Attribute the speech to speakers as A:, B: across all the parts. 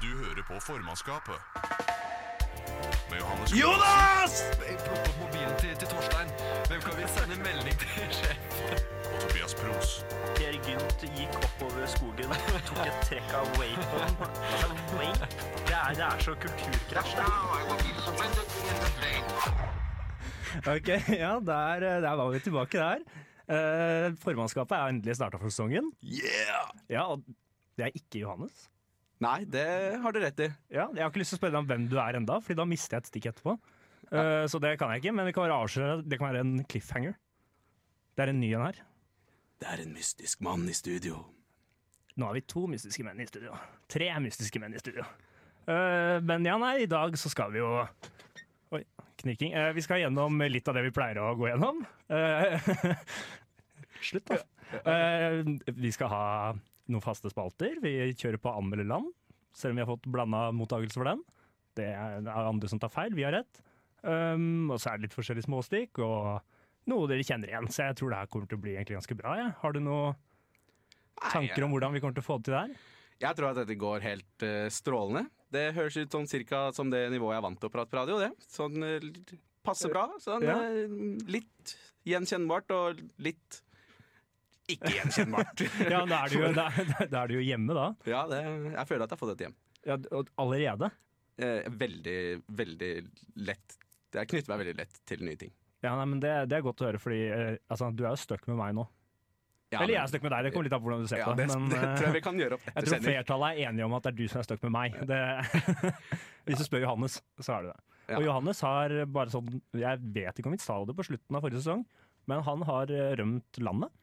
A: Du hører på formannskapet. Med Johannes
B: Jonas!
C: Plukk opp mobilen til, til Torstein. Hvem kan vi sende melding til sjef?
A: og Tobias Pros.
D: Per Gynt gikk oppover skogen, tok et trekk av wapen. Altså, vape? Det er, det er så kulturkrasj. Det er.
B: Ok, ja, der, eh, der var vi tilbake der. Eh, formannskapet er endelig starta for sesongen.
C: Yeah!
B: Ja, og det er ikke Johannes.
C: Nei, det har du rett i.
B: Ja, jeg har ikke lyst til å spørre deg om hvem du er enda, Fordi da mister jeg et stikk etterpå. Eh, så det kan jeg ikke, men det kan være, avsløre, det kan være en cliffhanger. Det er en ny en her.
C: Det er en mystisk mann i studio.
B: Nå har vi to mystiske menn i studio. Tre mystiske menn i studio. Eh, men ja, nei, i dag så skal vi jo Oi, knirking. Eh, vi skal gjennom litt av det vi pleier å gå gjennom. Eh, Slutt, da. Eh, vi skal ha noen faste spalter. Vi kjører på anmelde land, selv om vi har fått blanda mottakelse for den. Det er andre som tar feil, vi har rett. Um, og så er det litt forskjellige småstikk, og noe dere kjenner igjen. Så jeg tror det her kommer til å bli egentlig ganske bra. Ja. Har du noe tanker om hvordan vi kommer til å få det til der?
E: Jeg tror at dette går helt eh, strålende. Det høres ut sånn cirka som det nivået jeg er vant til å prate på radio. det. Sånn eh, l- passe bra. Sånn
B: Ja.
E: eh, litt gjenkjennbart og litt ikke gjenkjennbart.
B: Ja, da er du jo, da, da er du jo hjemme, da.
E: ja, det, jeg føler at jeg har fått dette hjem.
B: Ja, og allerede.
E: Eh, veldig, veldig lett. Jeg knytter meg veldig lett til nye ting.
B: Ja, nei, men det, det er godt å høre, fordi eh, altså, du er jo stuck med meg nå.
E: Ja,
B: Eller jeg
E: men-
B: er stuck med deg, det kommer litt an på hvordan du ser
E: ja,
B: på
E: det,
B: men,
E: det
B: eh,
E: tror jeg vi kan gjøre opp
B: jeg
E: etter
B: tror
E: sending.
B: flertallet er enige om at det er du som er stuck med meg. Det, hvis du spør Johannes, så er du det. Og
E: Ja.
B: Johannes har bare sånn Jeg vet ikke om vi sa det på slutten av forrige sesong, men han har eh, rømt landet.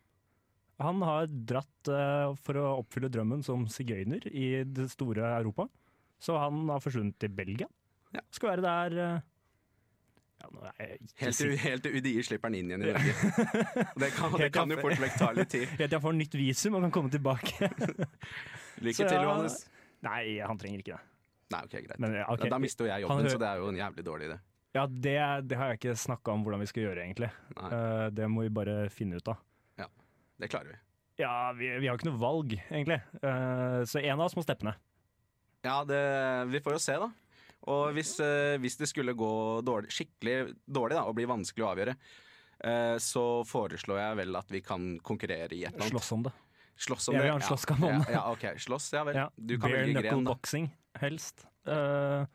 B: Han har dratt eh, for å oppfylle drømmen som sigøyner i det store Europa. Så han har forsvunnet til Belgia.
E: Ja.
B: Skal være der eh, ja, nå er jeg ikke
E: Helt
B: sikker.
E: til, helt til UDI slipper den inn igjen i Norge. Og Det kan, det
B: Helt
E: kan jo
B: opp-
E: fort vekk ta litt tid.
B: Helt til han får nytt visum og kan komme tilbake.
E: Lykke
B: Så
E: til,
B: ja.
E: Johannes.
B: Nei, han trenger ikke det.
E: Nei, ok, greit.
B: Men, eh, ok.
E: Da, da mister jo jeg
B: Han
E: jobben,
B: hø-
E: så det er jo en jævlig dårlig idé.
B: Ja, det, det har jeg ikke snakka om hvordan vi skal gjøre, egentlig.
E: Nei.
B: Eh, det må vi bare finne ut av.
E: Det klarer vi.
B: Ja, vi, vi har jo ikke noe valg, egentlig. Eh, så en av oss må steppe ned.
E: Ja, det, vi får jo se, da. Og hvis, eh, hvis det skulle gå dårlig, skikkelig dårlig da, og bli vanskelig å avgjøre, eh, så foreslår jeg vel at vi kan konkurrere i et eller annet.
B: Slåss om det.
E: Slåss om
B: Jeg
E: det.
B: vil ha en slåsskamp om
E: ja,
B: det.
E: ja, ok, slåss, ja vel.
B: Ja.
E: Du kan
B: Bare
E: velge
B: knuckle
E: gren, da.
B: boxing, helst. Eh,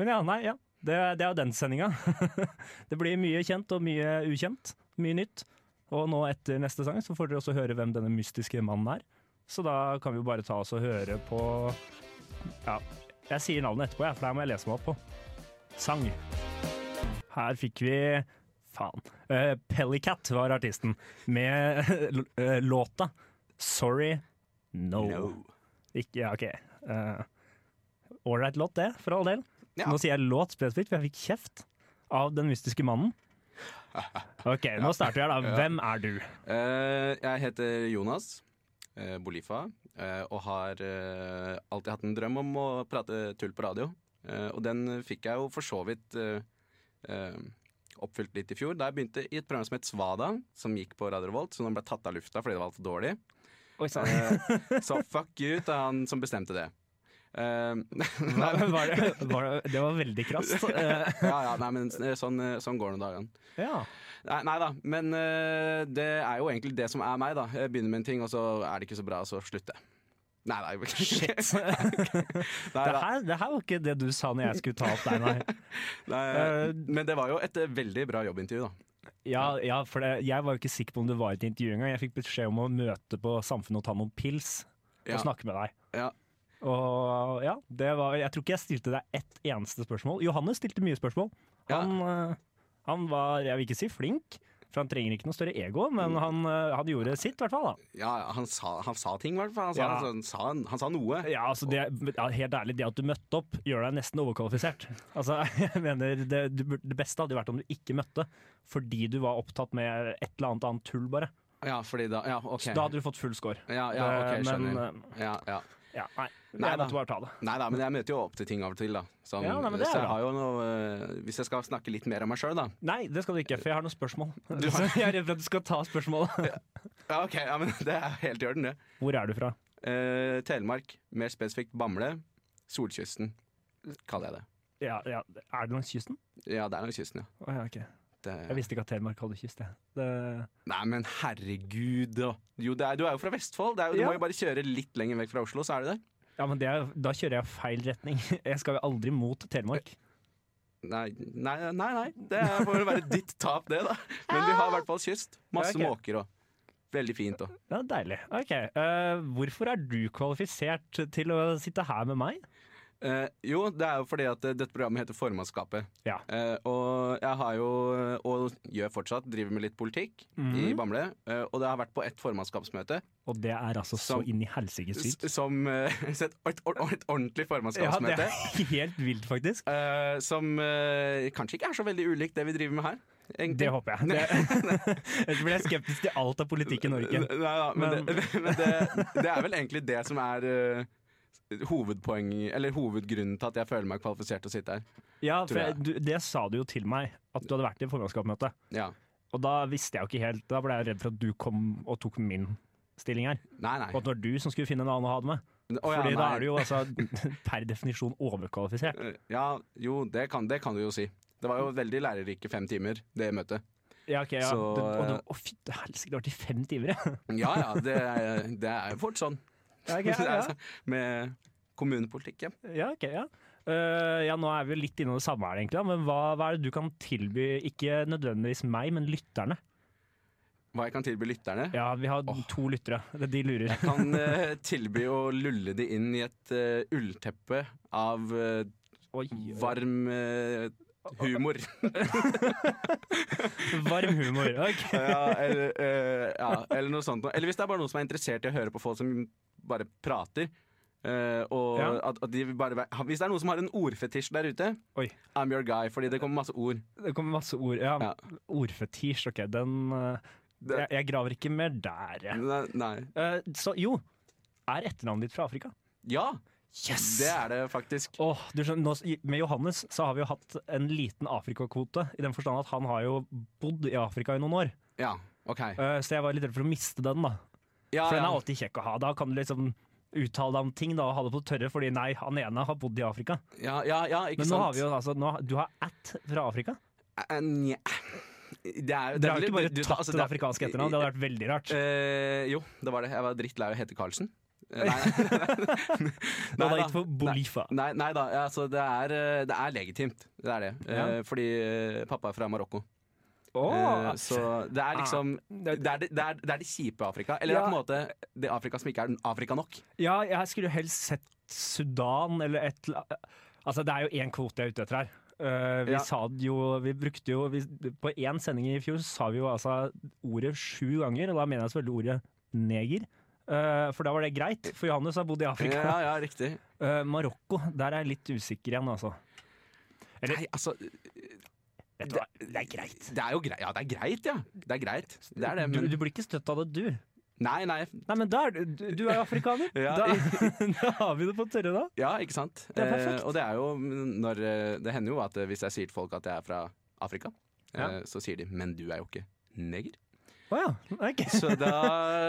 B: men ja, nei, ja. Det, det er jo den sendinga. det blir mye kjent og mye ukjent. Mye nytt. Og nå etter neste sang så får dere også høre hvem denne mystiske mannen er. Så da kan vi jo bare ta oss og høre på Ja, jeg sier navnet etterpå, jeg, for der må jeg lese meg opp på. Sang. Her fikk vi Faen. Uh, Pellycat var artisten, med eh, låta 'Sorry no.
E: No.
B: Ikke, ja, ok. Ålreit låt, det, for all del.
E: Ja.
B: Nå sier jeg låt spesifikt, for jeg fikk kjeft av den mystiske mannen. Ok, nå starter jeg, da. Hvem er du?
E: Eh, jeg heter Jonas eh, Bolifa eh, og har eh, alltid hatt en drøm om å prate tull på radio. Eh, og den fikk jeg jo for så vidt eh, eh, oppfylt litt i fjor, da jeg begynte i et program som het Svada, som gikk på Radio Revolt, så den ble tatt av lufta fordi det var altfor dårlig.
B: Oi sann.
E: Eh, så fuck you til han som bestemte det. Eh, nei,
B: Var det, var det, det var veldig krast. Eh,
E: ja, ja, nei, men eh, sånn, eh, sånn går nå dagene.
B: ja.
E: Nei, nei da, men eh, det er jo egentlig det som er meg, da. Jeg begynner med en ting, og så er det ikke så bra, og så slutter jeg. Nei, nei,
B: Shit.
E: beklager.
B: Det
E: Nei, da.
B: her, det her var ikke det du sa når jeg skulle ta opp deg, nei.
E: Nei,
B: Eh,
E: men det var jo et eh, veldig bra jobbintervju, da.
B: Ja, ja, for det, jeg var jo ikke sikker på om det var et intervju engang. Jeg fikk beskjed om å møte på Samfunnet og ta noen pils og
E: Ja.
B: snakke med deg.
E: Ja.
B: Og ja, det var, jeg tror ikke jeg stilte deg ett eneste spørsmål. Johannes stilte mye spørsmål. Han, eh, han var, jeg vil ikke si flink, for han trenger ikke noe større ego, men han, eh, han gjorde sitt, i hvert fall. Da.
E: Ja, ja, han sa, han sa ting, i hvert fall. Han, sa-
B: Ja.
E: altså, han, sa- han sa noe.
B: Ja, altså det, ja, helt ærlig, det at du møtte opp, gjør deg nesten overkvalifisert. Altså, jeg mener, det, du bur- det beste hadde jo vært om du ikke møtte, fordi du var opptatt med et eller annet annet tull, bare.
E: Ja, fordi da Ja, OK.
B: Så da hadde du fått full score.
E: Ja, ja, ok,
B: Eh, men,
E: skjønner. Ja, ja.
B: eh, ja, nei,
E: Nei
B: jeg
E: da.
B: måtte bare ta det.
E: Nei da, men jeg møter jo opp til ting av og til, da. Sånn,
B: Ja, nei, men det er
E: så jeg
B: bra.
E: har jo noe eh, Hvis jeg skal snakke litt mer om meg sjøl, da.
B: Nei, det skal du ikke, for jeg har noen spørsmål.
E: Du har-
B: Så Jeg er redd for at du skal ta spørsmålet.
E: Ja, OK, ja, men det er helt i orden, det.
B: Hvor er du fra?
E: Eh, Telemark, mer spesifikt Bamble. Solkysten, kaller jeg det.
B: Ja, ja. Er det langs kysten?
E: Ja, det er langs kysten, ja.
B: Å, ja, ok.
E: Det-
B: Jeg visste ikke at Telemark hadde kyst, jeg. Det...
E: Nei, men herregud. da. Jo, det er, du er jo fra Vestfold. Det er jo, du
B: Ja.
E: må jo bare kjøre litt lenger vekk fra Oslo, så er du der.
B: Ja, men det er, da kjører jeg feil retning. Jeg skal jo aldri mot Telemark.
E: Nei, nei, nei. nei. Det er- får vel være ditt tap, det, da. Men vi har i hvert fall kyst. Masse
B: Ja, ok.
E: måker og Veldig fint òg.
B: Ja, deilig. Ok, eh, Hvorfor er du kvalifisert til å sitte her med meg?
E: Eh, jo, det er jo fordi at eh, dette programmet heter Formannskapet.
B: Ja.
E: Eh, og jeg har jo, eh, og gjør fortsatt, driver med litt politikk i
B: Mhm.
E: Bamble. eh, og det har vært på ett formannskapsmøte
B: Og det er altså så
E: Som-
B: inn i helsike sykt.
E: s- som eh, så et, et, et
B: Ja,
E: ordentlig
B: det
E: formannskapsmøte.
B: er helt vilt, faktisk.
E: Eh, som eh, kanskje ikke er så veldig ulikt det vi driver med her. egentlig.
B: Det håper jeg. Det, ellers blir jeg skeptisk til alt av politikk i Norge.
E: Eh, Nei da, men,
B: Men-
E: det, men det, det er vel egentlig det som er eh, hovedpoeng Eller hovedgrunnen til at jeg føler meg kvalifisert til å sitte her.
B: Ja, for
E: Tror jeg.
B: jeg, du, Det sa du jo til meg, at du hadde vært i formannskapsmøte.
E: Ja.
B: Og da visste jeg jo ikke helt Da ble jeg redd for at du kom og tok min stilling her.
E: Nei, nei.
B: Og at det var du som skulle finne en annen å ha det med.
E: Å, ja,
B: Fordi da
E: nei.
B: er du jo altså per definisjon overkvalifisert.
E: Eh, Ja, jo, det kan, det kan du jo si. Det var jo veldig lærerike fem timer, det møtet.
B: Ja, ok, ja.
E: Så-
B: det, og det, eh, å, fy, det helsike, det var til fem timer, ja.
E: Ja ja, det, er- det er jo fort sånn.
B: Ja, ok,
E: Det er
B: ja,
E: så- Med kommunepolitikk, ja.
B: ja, ok, ja. Eh, ja, nå er vi jo litt innom det samme her, egentlig. da, Men hva, hva er det du kan tilby, ikke nødvendigvis meg, men lytterne?
E: Hva jeg kan tilby lytterne?
B: Ja, vi har
E: Åh.
B: to lyttere. De lurer.
E: Jeg kan eh, tilby å lulle de inn i et eh, ullteppe av eh,
B: Oi,
E: varm eh, humor.
B: varm humor. ok.
E: ja, eller, eh, ja, eller noe sånt. noe. Eller hvis det er bare noen som er interessert i å høre på folk som bare prater. eh, og
B: Ja.
E: at, at de vil bare, være- hvis det er noen som har en ordfetisj der ute,
B: Oi.
E: I'm your guy, fordi det kommer masse ord.
B: Det kommer masse ord. Ja,
E: Ja.
B: Ordfetisj, ok. Den eh,
E: Det-
B: jeg, jeg graver ikke mer der, jeg.
E: Nei, nei.
B: Eh, så jo, er etternavnet ditt fra Afrika?
E: Ja,
B: Yes!
E: det er det faktisk.
B: Åh, du skjønner, nå, s- med Johannes så har vi jo hatt en liten Afrikakvote, i den forstand at han har jo bodd i Afrika i noen år.
E: Ja, OK.
B: Eh, så jeg var litt redd for å miste den, da.
E: Ja,
B: For den
E: ja.
B: er alltid kjekk å ha. Da kan du liksom uttale deg om ting da, og ha det på det tørre, fordi nei, han ene har bodd i Afrika.
E: ja, ja, ja ikke
B: Men nå
E: sant.
B: har vi jo altså nå, Du har at fra Afrika.
E: Eh, nja. Det er,
B: Dere har jo ikke bare
E: du- du-
B: tatt
E: altså,
B: det
E: er-
B: afrikanske etternavn, det hadde vært veldig rart.
E: Eh, jo, det var det. Jeg var drittlei av å hete Karlsen. Eh, Nei,
B: Nå hadde
E: da.
B: jeg gitt for Bolifa.
E: nei, nei da, ja, altså det er, eh, det er legitimt. Det er det. Eh, Fordi eh, pappa er fra Marokko. Eh,
B: Åh,
E: Så det
B: Ah,
E: er liksom Det er det, det, er, det, er det kjipe Afrika. Eller det er på en måte det Afrika som ikke er Afrika nok.
B: Ja, jeg skulle jo helst sett Sudan eller et la- Altså, det er jo én kvote jeg er ute etter her. Eh, vi
E: Ja.
B: sa det jo Vi brukte jo vi, På én sending i fjor så sa vi jo altså ordet sju ganger, og da mener jeg selvfølgelig ordet neger. Eh, for da var det greit, for Johannes har bodd i Afrika.
E: Ja, ja, riktig.
B: Eh, Marokko, der er jeg litt usikker igjen, altså. Eller-
E: Nei, altså
B: Vet du hva, det er greit.
E: Det er jo greit. Ja, det er greit, ja. Det er greit. Det er det,
B: Du,
E: men
B: du blir ikke støtt av det, du.
E: Nei, nei.
B: Nei, men da er du Du er jo afrikaner.
E: Ja.
B: da, da har vi det på tørre, da.
E: Ja, ikke sant? Eh,
B: Det er perfekt.
E: og det er jo når eh, Det hender jo at eh, hvis jeg sier til folk at jeg er fra Afrika,
B: Ja.
E: eh, så sier de 'men du er jo ikke neger'.
B: Å ja. ok.
E: Så da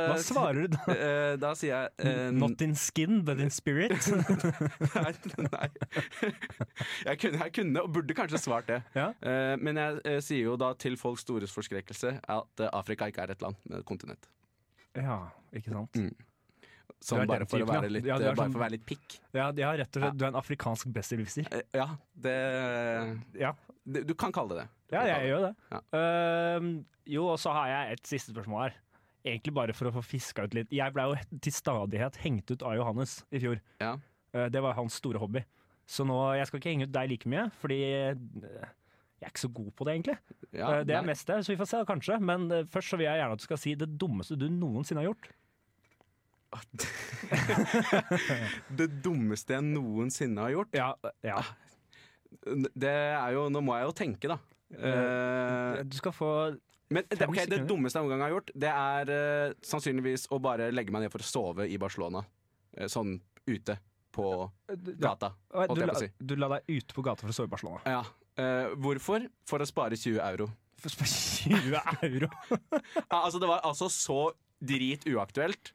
B: Hva svarer du da?
E: Eh, da sier jeg eh,
B: Not in skin, but in spirit.
E: Nei. nei. Jeg, kunne, jeg kunne og burde kanskje svart det.
B: Ja.
E: Eh, men jeg eh, sier jo da til folks store forskrekkelse at eh, Afrika ikke er et land, men et kontinent.
B: ja, ikke sant.
E: Sånn
B: Du er
E: bare
B: den
E: for, å
B: typen,
E: være
B: ja.
E: litt,
B: Ja, du er
E: eh, bare
B: sånn-
E: for å være litt pikk.
B: Ja, ja rett og slett. Du er en afrikansk besserwisser.
E: Eh, ja, det,
B: Ja.
E: det Du kan kalle det det. Du
B: ja,
E: kan
B: jeg
E: kalle det.
B: gjør det. Ehm, jo, og så har jeg et siste spørsmål her. Egentlig bare for å få fiska ut litt. Jeg ble jo til stadighet hengt ut av Johannes i fjor.
E: Ja.
B: Eh, det var hans store hobby. Så nå, jeg skal ikke henge ut deg like mye, fordi eh, jeg er ikke så god på det, egentlig.
E: Ja,
B: Eh, det er
E: nei.
B: mest det, så vi får se, da, kanskje. Men eh, først så vil jeg gjerne at du skal si det dummeste du noensinne har gjort.
E: det dummeste jeg noensinne har gjort,
B: Ja, eh, ja.
E: det er jo Nå må jeg jo tenke, da. Eh,
B: Du skal få
E: Men det,
B: Fem
E: ok, det
B: sekunder.
E: dummeste jeg noen gang har gjort, det er eh, sannsynligvis å bare legge meg ned for å sove i Barcelona. Eh, sånn ute på gata.
B: du,
E: holdt jeg
B: la,
E: på å si.
B: du la deg ute på gata for å sove i Barcelona.
E: Ja. Eh, hvorfor? For å spare 20 euro.
B: For 20 euro!
E: Ja, altså, det var altså så drit uaktuelt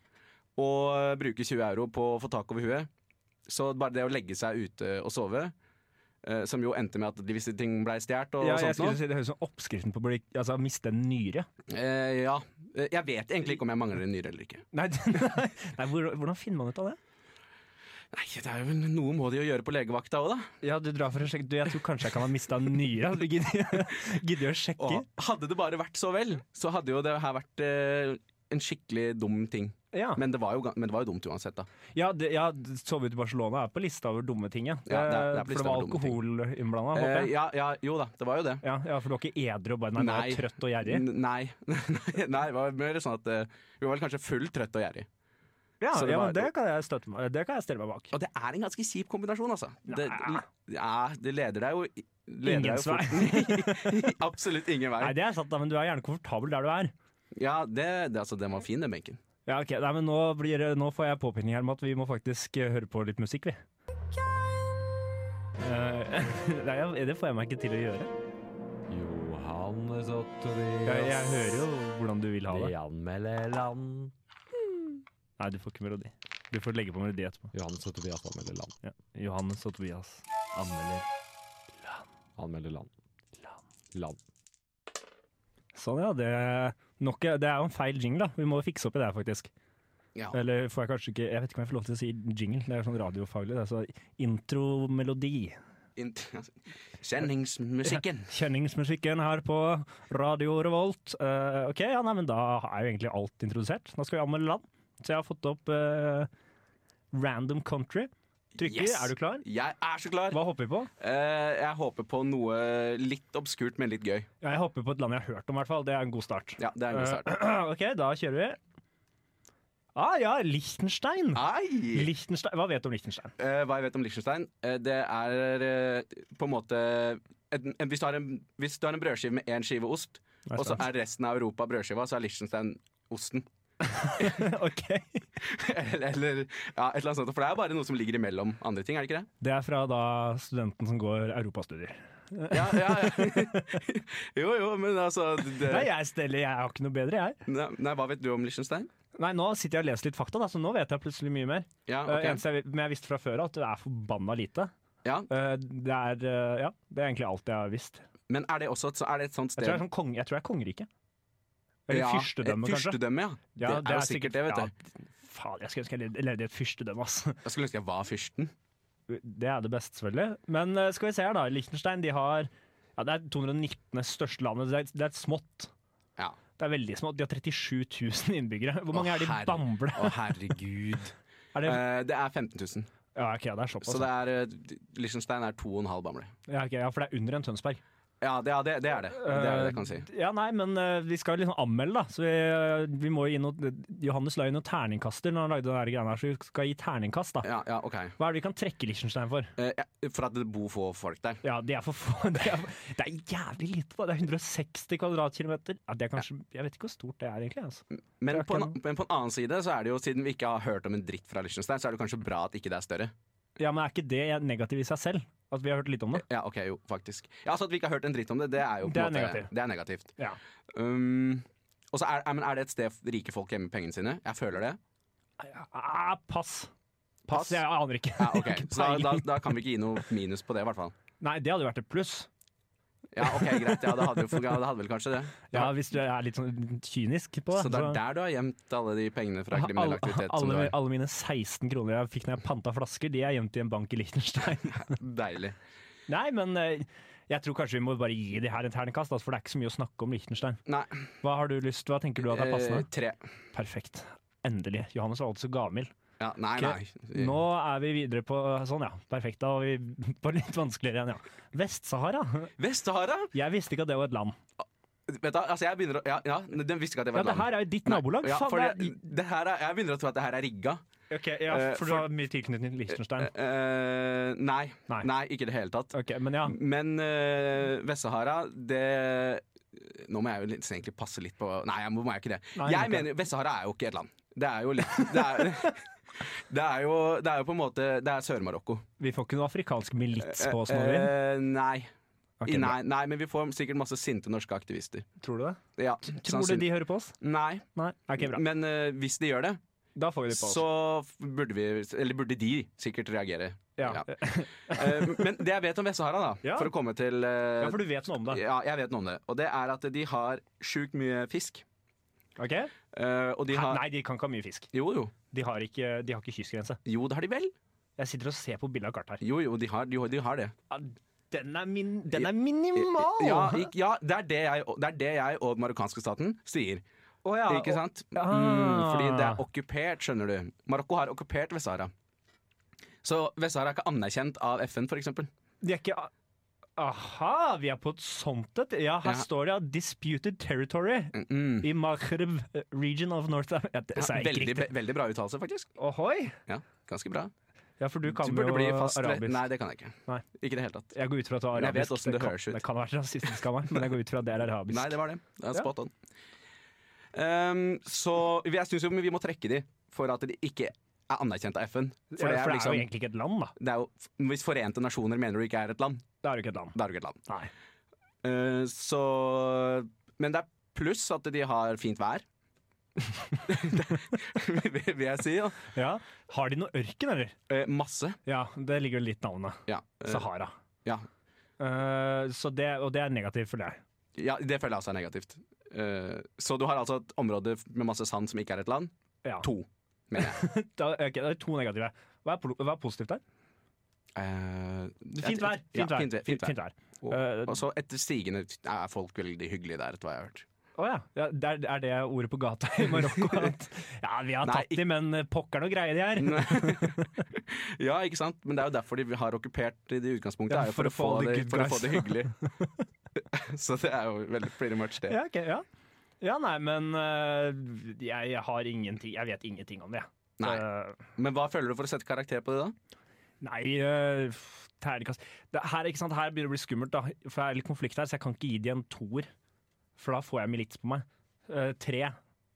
E: å bruke 20 euro på å få tak over huet. Så bare det å legge seg ute og sove, eh, som jo endte med at de visse ting blei stjålet og
B: Ja, jeg
E: sånt
B: skulle
E: noe.
B: si Det høres ut som oppskriften på å bli, altså, miste en nyre.
E: Eh, ja. Eh, Jeg vet egentlig ikke om jeg mangler en nyre eller ikke.
B: Nei, nei, nei, hvor, hvordan finner man ut av det?
E: Nei, det er jo Noe må de jo gjøre på legevakta òg, da.
B: Ja, du drar for å sjekke. Du, jeg tror kanskje jeg kan ha mista en nyre. Du gidder gidder å sjekke.
E: Og hadde det bare vært så vel, så hadde jo det her vært eh, en skikkelig dum ting.
B: Ja,
E: Men det var jo, ga- men det var jo dumt uansett, da.
B: ja, det, ja Sove ute i Barcelona er på lista over dumme ting, ja.
E: Ja, det er-
B: Eh,
E: det er på
B: for det
E: lista
B: var
E: over dumme ting.
B: alkohol innblanda, håper
E: Eh,
B: jeg.
E: ja, ja, jo da, det var jo det.
B: Ja, ja, for du var ikke edru og bare nei, nei.
E: Nei. Mm.
B: trøtt og gjerrig?
E: N nei. nei, det var mer sånn at eh, vi var vel kanskje full trøtt og gjerrig.
B: Ja,
E: Så det
B: ja
E: var-
B: men det kan jeg støtte meg Det kan jeg stille meg bak.
E: Og det er en ganske kjip kombinasjon, altså. Det,
B: Nei.
E: ja, det leder deg jo leder
B: Ingen
E: deg jo fort- Absolutt ingen vei.
B: Nei, det er sant, da, men du er gjerne komfortabel der du er.
E: Ja, det, det, altså, den var fin, den benken.
B: Ja, ok, nei, men nå, blir, det- nå får jeg påpinning her om at vi må faktisk eh, høre på litt musikk, vi. Eh, nei, jeg- det får jeg meg ikke til å gjøre.
C: Johannes og
B: Jeg,
C: Tobias
B: jeg hører jo hvordan du vil ha
C: De
B: det.
C: anmelder land
B: Nei, du får ikke melodi. Du får legge på melodi etterpå.
C: Johannes og Tobias anmelder land
B: Ja. Johannes og Tobias anmelder.
C: Anmelder land Land
B: Sånn, ja. Det, nok, det er jo en feil jingle, da. Vi må fikse opp i det her, faktisk.
E: Ja.
B: Eller får jeg kanskje ikke Jeg vet ikke om jeg får lov til å si jingle. Det er sånn radiofaglig. Det er så intromelodi.
E: Int- Kjenningsmusikken.
B: Kjenningsmusikken her på Radio Revolt. Eh, ok, ja, nei, men da er jo egentlig alt introdusert. Nå skal vi anmelde land. Så jeg har fått opp eh, Random Country. Trykker.
E: Yes.
B: Er du klar?
E: Jeg er så klar!
B: Hva hopper vi på?
E: Eh, jeg håper på noe litt obskurt, men litt gøy.
B: Ja, jeg hopper på et land jeg har hørt om, i hvert fall. Det er en god start.
E: Ja, det er en god start.
B: Eh, ok, da kjører vi. Ah ja, Liechtenstein.
E: Ah, Ai!
B: Liechtenstein. Hva vet du om Liechtenstein?
E: Eh, hva jeg vet om Liechtenstein? Eh, det er eh, på en måte en, en, hvis, du har en, hvis du har en brødskive med én skive ost,
B: Nei,
E: og så
B: sant.
E: er resten av Europa brødskiva, så er Liechtenstein osten.
B: ok.
E: eller eller, ja, et eller annet sånt. For det er bare noe som ligger imellom andre ting, er det ikke det?
B: Det er fra da studenten som går europastudier.
E: Ja, ja, ja. jo, jo, men altså det,
B: Nei, jeg steller, jeg har ikke noe bedre, jeg.
E: nei, nei, hva vet du om Liechtenstein?
B: Nei, nå sitter jeg og leser litt fakta, da, så nå vet jeg plutselig mye mer.
E: Ja,
B: Eh,
E: ok.
B: eneste jeg, men jeg visste fra før at det er forbanna lite.
E: ja,
B: Eh, det, er, eh, ja, det er egentlig alt jeg har visst.
E: Men er det også et, så er det et
B: Jeg
E: sånt sted
B: tror det er, sånn kong, jeg tror det er kongeriket. Eller
E: Ja,
B: fyrstedømme,
E: et
B: kanskje.
E: Fyrstedømme, ja.
B: Ja,
E: det, er jo sikkert det, vet du.
B: ja, faen, jeg skulle ønske jeg levde- levde i et fyrstedømme, ass.
E: Jeg skulle ønske jeg var fyrsten.
B: Det er det beste, selvfølgelig. Men eh, skal vi se her, da. Liechtenstein de har ja, Det er 219. største landet. Det er, det er et smått.
E: Ja.
B: Det er veldig smått. De har 37 000 innbyggere. Hvor mange
E: Å,
B: er de i
E: herre-
B: Bamble?
E: Å, herregud.
B: Er det,
E: Eh, det er 15 000.
B: ja, ok, det er såpass.
E: Så det er eh, Liechtenstein er 2,5 bamler.
B: ja, ok, ja, for det er under en Tønsberg.
E: Ja, det, ja det, det er det. Det er det jeg kan si.
B: Eh, Ja, nei, men eh, vi skal liksom anmelde, da. Så vi, eh, vi må gi noe Johannes la jo noen terningkaster når han lagde den her greia her, så vi skal gi terningkast, da.
E: Ja, ja, ok.
B: Hva er det vi kan trekke Liechtenstein for?
E: Eh, ja, for at det bor få folk der.
B: Ja, det er for få. Det er, det er jævlig lite, da. Det er 160 kvadratkilometer. Ja, det er kanskje Jeg vet ikke hvor stort det er, egentlig. Altså.
E: Men
B: Det er
E: på, en,
B: ikke
E: men på en annen side, så er det jo, siden vi ikke har hørt om en dritt fra Liechtenstein, så er det kanskje bra at ikke det er større.
B: Ja, men er ikke det negativt i seg selv? At vi har hørt litt om det?
E: Ja, ok, jo, faktisk. Ja, altså At vi ikke har hørt en dritt om det, det er jo på
B: Det er
E: en måte,
B: negativt.
E: Det er negativt.
B: Ja.
E: Um, og så er, er, men er det et sted rike folk gjemmer pengene sine? Jeg føler det.
B: Ah, pass.
E: Pass?
B: Jeg aner ikke.
E: Ja, ok.
B: Ikke
E: Så da, da,
B: peiling.
E: da kan vi ikke gi noe minus på det, i hvert fall.
B: Nei, det hadde jo vært et pluss.
E: Ja, ok, greit. Ja, det hadde, jo- ja, det hadde vel kanskje det.
B: Ja, Hvis du er litt sånn kynisk på det.
E: Så det er der du har gjemt alle de pengene fra kriminell
B: alle,
E: aktivitet? som du
B: alle,
E: har.
B: alle mine 16 kroner jeg fikk når jeg panta flasker, de er gjemt i en bank i Liechtenstein.
E: Deilig.
B: Nei, men eh, jeg tror kanskje vi må bare gi de her en terningkast, altså, for det er ikke så mye å snakke om Liechtenstein.
E: Nei.
B: Hva har du lyst Hva tenker du at er
E: eh,
B: passende?
E: tre.
B: Perfekt. Endelig. Johannes var altså gavmild.
E: Ja, nei,
B: Ok,
E: nei.
B: Nå er vi videre på Sånn, ja. Perfekt. Da var vi på litt vanskeligere igjen, ja. Vest-Sahara?
E: Vest-Sahara!
B: Jeg visste ikke at det var et land.
E: Vet du, altså jeg begynner å Ja, ja den visste ikke at det
B: Ja,
E: var
B: det her er jo ditt nabolag!
E: Ja, for
B: Faen,
E: det, det her er, jeg begynner å tro at det her er rigga.
B: det er Ok, ja,
E: eh,
B: For du
E: for-
B: har mye tilknytning til Liechtenstein.
E: Eh, nei. nei.
B: Nei.
E: ikke i det hele tatt.
B: Ok, men ja.
E: Men eh, Vest-Sahara, det Nå må jeg jo litt, egentlig passe litt på Nei, jeg må, må jeg ikke det.
B: Nei,
E: jeg
B: men-
E: mener Vest-Sahara er jo ikke et land. Det er jo litt Det er, det er, jo, det er jo på en måte Det er Sør-Marokko.
B: Vi får ikke noe afrikansk milits på oss nå, vi.
E: Eh, nei.
B: Ok, bra.
E: nei. Nei, men vi får sikkert masse sinte norske aktivister.
B: Tror du det?
E: Ja,
B: Tror du de hører på oss?
E: Nei.
B: Nei. Ok, bra.
E: Men eh, hvis de gjør det,
B: Da får vi det på oss.
E: så burde vi Eller burde de sikkert reagere.
B: Ja.
E: ja. Eh, Men det jeg vet om Vest-Sahara, da,
B: Ja.
E: for å komme til eh,
B: ja, for du vet noe om det.
E: ja, jeg vet noe om det. Og det er at de har sjukt mye fisk.
B: Ok?
E: Eh, og de
B: Hæ?
E: har
B: Nei, de kan ikke ha mye fisk.
E: Jo, jo.
B: De har ikke, de har ikke kystgrense.
E: Jo, det har de vel.
B: Jeg sitter og ser på bildet av kart her.
E: Jo, jo, de har, de, de har det.
B: Ja, Den er, min, den er minimal!
E: Ja, ik- ja det, er det, jeg, det er det jeg og den marokkanske staten sier.
B: Å ja,
E: ikke sant?
B: Ah.
E: Mm, fordi det er okkupert, skjønner du. Marokko har okkupert Vest-Sahara. Så Vest-Sahara er ikke anerkjent av FN, f.eks.
B: og De er ikke Aha, vi er på et sånt et. Ja, her
E: Ja.
B: står det ja, 'Disputed Territory'
E: Mm.
B: i Maghreb eh, region of North Africa. Ja, det
E: Ja,
B: sa jeg ikke
E: veldig,
B: riktig.
E: ve- veldig bra uttalelse, faktisk.
B: Ohoi!
E: Ja, Ganske bra.
B: Ja, for du kan
E: du burde
B: jo
E: bli fast
B: arabisk.
E: Nei, det kan jeg ikke.
B: Nei.
E: Ikke i det hele tatt.
B: Jeg går ut fra at det er
E: Men jeg vet
B: arabisk.
E: hvordan det
B: kan,
E: høres ut.
B: det kan være rasistisk av meg, men jeg går ut fra at det er arabisk.
E: Nei, det var det. Det er
B: Ja.
E: spot on. Ehm, så jeg syns jo vi må trekke de for at de ikke er anerkjent av FN. For det
B: ja,
E: er
B: jo
E: jo liksom
B: egentlig ikke et land, da.
E: det er jo, Hvis Forente nasjoner mener du ikke er et land,
B: Det er jo ikke et land.
E: da er du ikke et land.
B: Nei.
E: Eh, så Men det er pluss at de har fint vær. Det vil jeg si. Ja.
B: Ja. Har de noe ørken, eller?
E: Eh, masse.
B: Ja, det ligger jo litt i navnet.
E: Ja. eh,
B: Sahara.
E: ja.
B: Eh, så det, og det er negativt for deg.
E: ja. Det føler jeg også er negativt. Eh, så du har altså et område med masse sand som ikke er et land.
B: Ja.
E: To, mener jeg.
B: Da, eh, ok, det er to negative. Hva er, polo- hva er positivt der?
E: Eh, jeg-
B: Fint vær!
E: Ja,
B: Fint vær.
E: fint vær, fint vær.
B: Fint vær.
E: Og,
B: Eh,
E: og så etter stigende er folk veldig hyggelige der, etter hva jeg har hørt.
B: Å ja. ja det er, er det ordet på gata i Marokko? At, ja, vi har
E: Nei,
B: tatt de, men eh, pokker noe greie de er.
E: ja, ikke sant? Men det er jo derfor de har okkupert det i utgangspunktet.
B: Ja,
E: er jo for, å få
B: the
E: det,
B: good
E: for å
B: guys.
E: få det hyggelig. så det er jo veldig pretty much det.
B: Ja, ok, ja. Ja, nei, men øh, jeg har ingenting Jeg vet ingenting om det.
E: Nei.
B: Øh,
E: Men hva føler du for å sette karakter på det, da?
B: nei øh, f- terningkast det, her, ikke sant, her begynner det å bli skummelt, da. For det er litt konflikt her, så jeg kan ikke gi de en toer. For da får jeg milits på meg. Øh, tre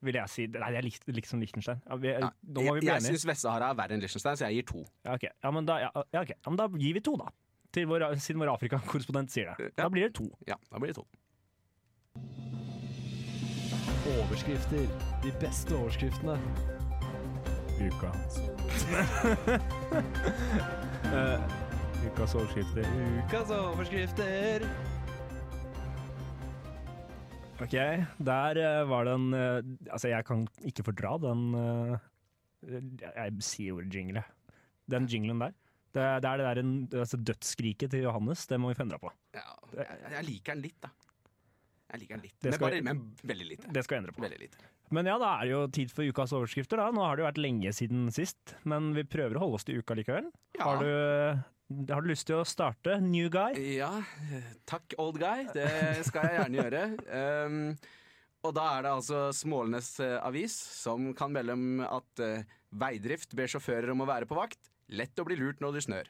B: vil jeg si. Nei, det er likt, liksom Liechtenstein. Ja, vi,
E: Ja,
B: nå må vi
E: jeg
B: bli
E: jeg
B: enige.
E: syns Vest-Sahara er verre enn Liechtenstein, så jeg gir to.
B: Ja, ok. ja, men da, ja, ja, ok. ja, men da gir vi to, da. Til vår, siden vår Afrika-korrespondent sier det.
E: Ja.
B: Da blir det to.
E: Ja, da blir det to.
C: Overskrifter. De beste overskriftene.
F: Uka. Eh, ukas overskrifter.
C: Ukas overskrifter.
F: Ok,
B: Der eh, var den eh, Altså, jeg kan ikke fordra den eh, Jeg jeg sier ordet jingle. jeg. Den jinglen der. Det, det er det der en- altså dødsskriket til Johannes. Det må vi få endra på.
E: Ja, jeg, jeg liker den litt, da. Jeg liker den litt.
B: Det
E: Men,
B: skal-
E: bare, men veldig lite.
B: Det skal jeg endre på.
E: Veldig lite.
B: Men ja, da er det jo tid for ukas overskrifter. da. Nå har det jo vært lenge siden sist, men vi prøver å holde oss til uka likevel.
E: Ja.
B: Har, du, har du lyst til å starte, new guy?
E: Ja, eh, takk old guy, det skal jeg gjerne gjøre. Ehm, og da er det altså Smålenes eh, avis som kan melde om at eh, veidrift ber sjåfører om å være på vakt. Lett å bli lurt når det snør.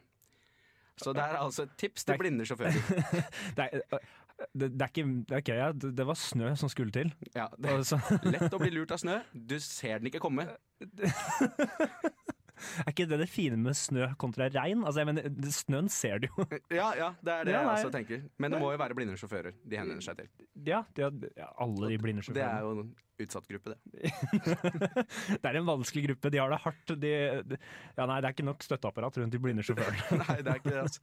E: Så det er altså et tips til
B: Takk.
E: blinde sjåfører.
B: Det er, eh, det, det er ikke Ok, ja, det, det var snø som skulle til.
E: Ja, det,
B: Og så-
E: lett å bli lurt av snø. Du ser den ikke komme.
B: er ikke det det fine med snø kontra regn? Altså, jeg mener, det- snøen ser du jo.
E: Ja, ja, det er det
B: Ja,
E: jeg
B: nei.
E: også tenker. Men det må jo være blinde sjåfører de henvender seg til.
B: Ja, de har, ja alle de blinde
E: Det
B: sjåførene.
E: er jo en utsatt gruppe, det.
B: Det, er en vanskelig gruppe, de har det hardt. De, de, ja, nei, det er ikke nok støtteapparat rundt de blinde sjåførene.
E: Nei, det er ikke det, altså.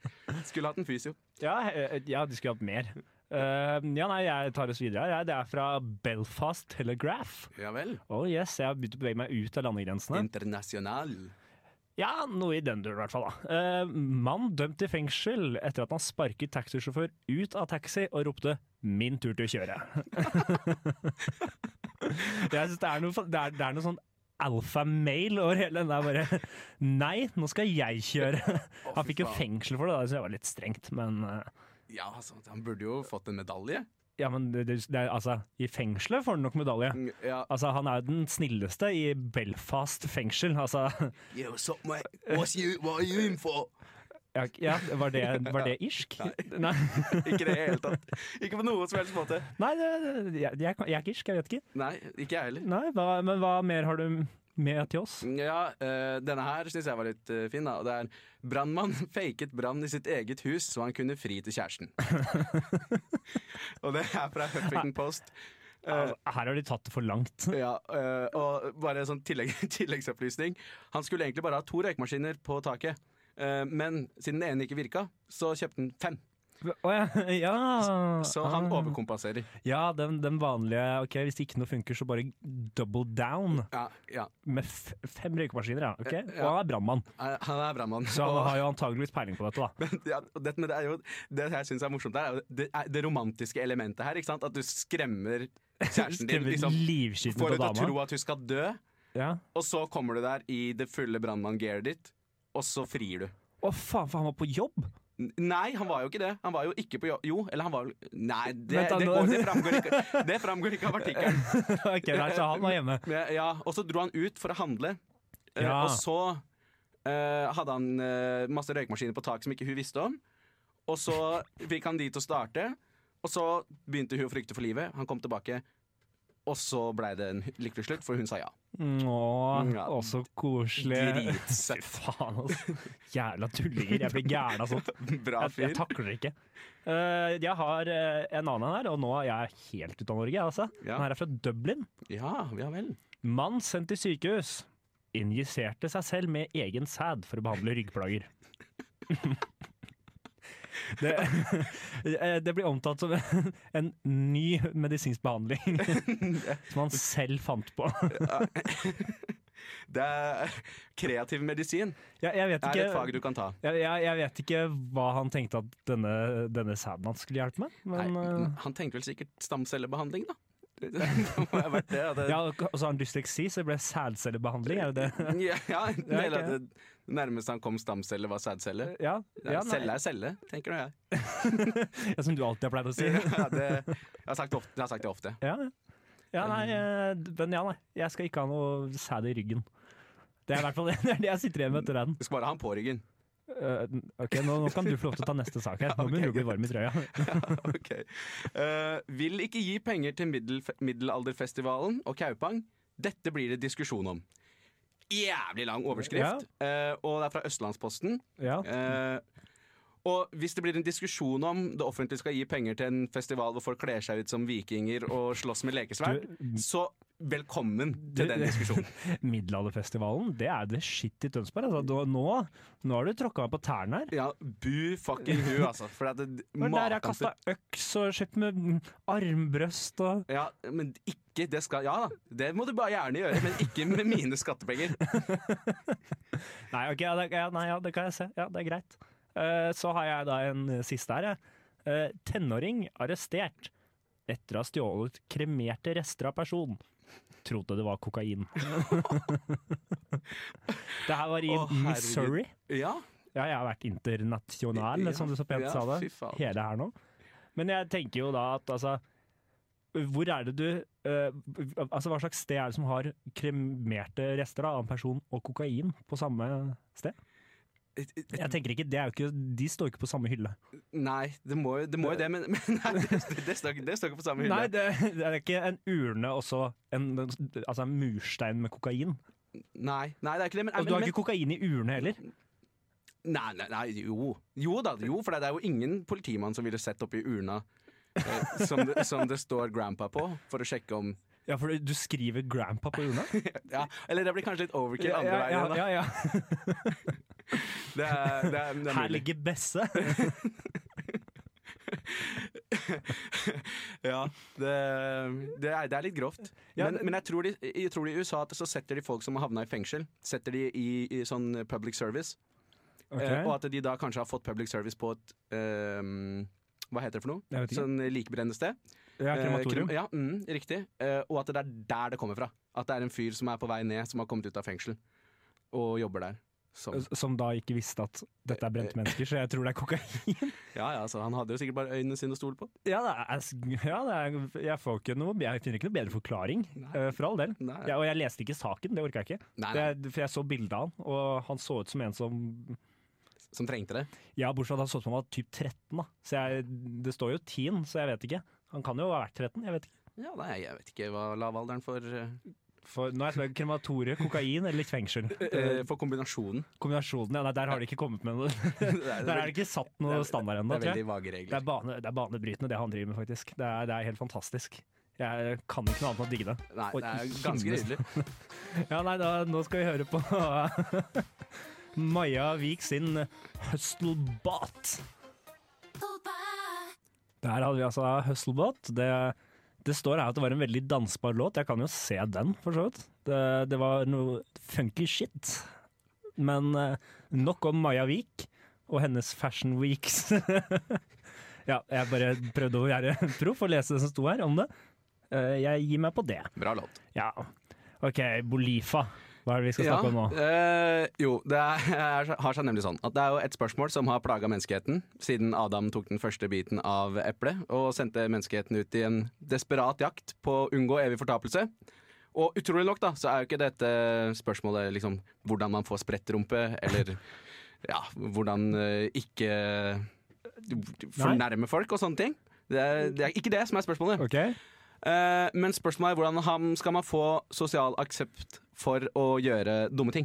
E: Skulle hatt en fysio.
B: ja, eh, ja, de skulle hatt mer. Eh, ja, nei, jeg tar oss videre her. Jeg- Det er fra Belfast Telegraph.
E: Ja vel.
B: Oh yes, jeg har begynt å bevege meg ut av landegrensene.
E: Internasjonal.
B: Ja, noe i den duren i hvert fall. da. Eh, mann dømt til fengsel etter at han sparket taxisjåfør ut av taxi og ropte 'min tur til å kjøre'. Jeg synes det er noe, fa- det er, det er noe sånn alfamale over hele den der bare Nei, nå skal jeg kjøre!
E: Å,
B: Han
E: fy
B: fikk jo
E: faen.
B: fengsel for det, da, det synes jeg var litt strengt, men eh,
E: Ja, altså, han burde jo fått en medalje.
B: Ja, men det, det, det er, altså, i fengselet får han nok medalje.
E: Mm, Ja.
B: Altså, han er jo den snilleste i Belfast fengsel, altså.
E: Yo, what's up, mate? What's you, what are you in for?
B: Ja, ja var, det, var det irsk? Nei.
E: Ikke det i hele tatt. Ikke på noen som helst måte.
B: Nei, det, det, jeg, jeg, kan- jeg er ikke irsk, jeg vet ikke.
E: Nei, ikke jeg heller.
B: Nei, hva, men hva mer har du med til oss?
E: Ja, eh, denne her syns jeg var litt eh, fin. da Og Det er Brannmann faket brann i sitt eget hus så han kunne fri til kjæresten. og det er fra Huffington Post.
B: Altså, her har de tatt det for langt.
E: Ja, eh, og bare en sånn tillegg, tilleggsopplysning. Han skulle egentlig bare ha to røykmaskiner på taket, eh, men siden den ene ikke virka, så kjøpte han fem.
B: Å ja, ja.
E: Så han
B: Ah.
E: overkompenserer.
B: Ja, den, den vanlige Ok, hvis ikke noe funker, så bare double down
E: Ja, ja.
B: med f fem røykemaskiner. Ja. ok? Og
E: Ja.
B: han er brannmann,
E: Eh, Han er brannmann.
B: så han
E: og-
B: har jo antageligvis peiling på dette. da.
E: Men, ja, og det, men det er jo det jeg syns er morsomt, her, er jo det, er det romantiske elementet her. ikke sant? At du skremmer kjæresten din.
B: Stemmer
E: Liksom,
B: livskiten på
E: får deg til å
B: dama.
E: tro at hun skal dø,
B: Ja.
E: og så kommer du der i det fulle brannmann-gearet ditt, og så frir du.
B: Å faen, for han var på jobb!
E: N- Nei, han var jo ikke det. Han var jo ikke på jo- Jo, eller han var jo Nei, det,
B: Vent da,
E: det,
B: nå-
E: går, det, framgår, ikke, det framgår ikke av artikkelen.
B: ok, nei, Så han var hjemme.
E: Men, ja, og så dro han ut for å handle, Eh,
B: Ja.
E: og så eh, hadde han eh, masse røykmaskiner på tak som ikke hun visste om. Og så fikk han de til å starte, og så begynte hun å frykte for livet. Han kom tilbake, og så blei det en lykkelig slutt, for hun sa ja.
B: Å,
E: Mm, Ja.
B: å, så koselig. Fy
E: Dritsøtt.
B: faen, altså. Jævla tullinger. Jeg blir gæren altså. av sånt.
E: Bra
B: Jeg, jeg
E: fyr.
B: takler det ikke. Eh, jeg har eh, en annen her, og nå er jeg helt ute av Norge. jeg, Altså.
E: Ja.
B: Den her er fra Dublin.
E: Ja, ja vel.
B: Mann sendt til sykehus. Injiserte seg selv med egen sæd for å behandle ryggplager. Det, eh, det blir omtalt som en ny medisinsk behandling som han selv fant på.
E: Det er kreativ medisin.
B: Jeg, jeg, vet
E: Det er et
B: ikke,
E: fag du kan ta.
B: jeg, jeg, jeg vet ikke hva han tenkte at denne, denne sæden hans skulle hjelpe med,
E: Nei,
B: men eh,
E: han tenkte vel sikkert stamcellebehandling, da. Det, det, må ha vært det. at det
B: Ja, og og så har han dysleksi, så det ble sædcellebehandling, er det det?
E: ja, ja, eller
B: ok.
E: at det nærmeste han kom stamcelle, var sædcelle.
B: Ja,
E: Nei,
B: ja
E: Celle er celle, tenker nå jeg.
B: Ja, som du alltid har pleid å si.
E: Ja, det, jeg, har sagt det ofte, jeg har sagt det ofte.
B: Ja, ja nei, eh, men ja, nei. Jeg skal ikke ha noe sæd i ryggen. Det er i hvert fall det, det, er det jeg sitter igjen med etter den.
E: Du skal bare ha han på ryggen.
B: Eh, ok, nå, nå kan du få lov til å ta neste sak her. Nå begynner du å bli varm i trøya.
E: Ok. Eh, vil ikke gi penger til middel, middelalderfestivalen og Kaupang. Dette blir det diskusjon om. Jævlig lang overskrift, eh, og det er fra Østlandsposten.
B: Ja.
E: Eh, og hvis det blir en diskusjon om det offentlige skal gi penger til en festival hvor folk kler seg ut som vikinger og slåss med lekesverd,
B: mm.
E: så velkommen til den diskusjonen.
B: Middelalderfestivalen, det er det shit i Tønsberg. Altså, Da- nå, nå har du tråkka meg på tærne her.
E: Ja, bu fucking hu, altså. For at det,
B: Men der jeg
E: maken til-
B: kasta øks og kjøpt med mm, armbrøst og
E: Ja, men ikke det skal Ja da, det må du bare gjerne gjøre, men ikke med mine skattepenger.
B: Nei, ok, ja, det, ja, nei, ja, det kan jeg se. Ja, det er greit. Eh, så har jeg da en eh, siste her. jeg. Eh, tenåring arrestert etter å ha stjålet kremerte rester av person. Trodde det var kokain. det her var i
E: Å, herregud.
B: Missouri.
E: Ja,
B: Ja, jeg har vært internasjonal,
E: Ja,
B: som du så pent
E: ja,
B: sa det.
E: fy faen.
B: Hele her nå. Men jeg tenker jo da at altså Hvor er det du eh, Altså hva slags sted er det som har kremerte rester da, av en person og kokain på samme sted? Jeg tenker ikke, det er jo ikke De står jo ikke på samme hylle.
E: Nei, det må jo det, må jo det men, men nei, det, det, står, ikke- det står ikke på samme hylle.
B: Nei, det, det er ikke en urne og så en, altså en murstein med kokain.
E: nei, nei, det er ikke det. Men,
B: Og du
E: men,
B: har ikke kokain i urne heller.
E: men nei, nei, nei, jo. Jo da, jo, for det er jo ingen politimann som ville sett oppi urna eh, som, det, som det står 'grandpa' på, for å sjekke om
B: Ja, for du skriver 'grandpa' på urna?
E: ja, Eller det blir kanskje litt overkill
B: ja,
E: andre veien. da.
B: ja, ja.
E: Det er, det er, det er
B: Her
E: mulig.
B: ligger Besse.
E: Ja, det, det, er, det er litt grovt.
B: Ja,
E: men,
B: det-
E: men jeg, tror de, jeg tror de i USA at så setter de folk som har havna i fengsel, setter de i, i sånn public service. Eh, og at de da kanskje har fått public service på et eh, Hva heter det for noe?
B: Jeg vet ikke.
E: Sånn likbrennende sted.
B: Ja,
E: Eh,
B: krematorium.
E: krem- ja, mm, riktig. Eh, og at det er der det kommer fra. At det er en fyr som er på vei ned, som har kommet ut av fengsel og jobber der. Som,
B: Som da ikke visste at dette er
E: Eh,
B: brente mennesker, så jeg tror det er kokain.
E: ja, ja, så Han hadde jo sikkert bare øynene sine å stole på.
B: Ja, det er, ja det er, jeg, får ikke noe, jeg finner ikke noe bedre forklaring, eh, for all del.
E: Nei.
B: Ja, og jeg leste ikke saken, det orka jeg ikke.
E: Nei,
B: Det,
E: nei,
B: er- for jeg så bildet av han, og han så ut som en som
E: som trengte det.
B: Ja, bortsett fra at han så ut som han var typ 13, da. Så jeg, det står jo 10, så jeg vet ikke. Han kan jo ha vært 13, jeg vet ikke.
E: Ja, nei, Jeg vet ikke hva lavalderen for, eh,
B: For nå er jeg spent krematoriet, kokain eller fengsel.
E: eh, for kombinasjonen.
B: Kombinasjonen, ja, nei, der har de ikke kommet med noe.
E: Det er,
B: Der er det ikke satt noe standard ennå, tror
E: det er
B: jeg.
E: veldig vage
B: Det
E: regler.
B: er, bane, det er banebrytende det han driver med, faktisk. Det er, det er helt fantastisk. Jeg, Jeg kan ikke noe annet enn å digge det.
E: Nei,
B: Oi,
E: det er ganske
B: himmelsk.
E: nydelig.
B: Ja, nei, da, nå skal vi høre på Maja Vik sin Hustlebot. Der hadde vi altså Hustlebot. Det, det står her at det var en veldig dansbar låt. Jeg kan jo se den, for så vidt. Det, det var noe funky shit. Men eh, nok om Maja Vik og hennes Fashion Weeks. ja, jeg bare prøvde å være proff og lese det som sto her om det. Eh, Jeg gir meg på det.
E: Bra låt.
B: Ja. OK, Bolifa. Hva er det vi skal snakke om nå?
E: eh, jo, det er, har seg nemlig sånn at det er jo et spørsmål som har plaga menneskeheten siden Adam tok den første biten av eplet og sendte menneskeheten ut i en desperat jakt på å unngå evig fortapelse. Og utrolig nok, da, så er jo ikke dette spørsmålet liksom hvordan man får sprettrumpe, eller ja, hvordan eh, ikke eh, fornærme folk og sånne ting. Det er, det er ikke det som er spørsmålet.
B: Ok,
E: Eh, men spørsmålet er hvordan ham- skal man få sosial aksept for å gjøre dumme ting?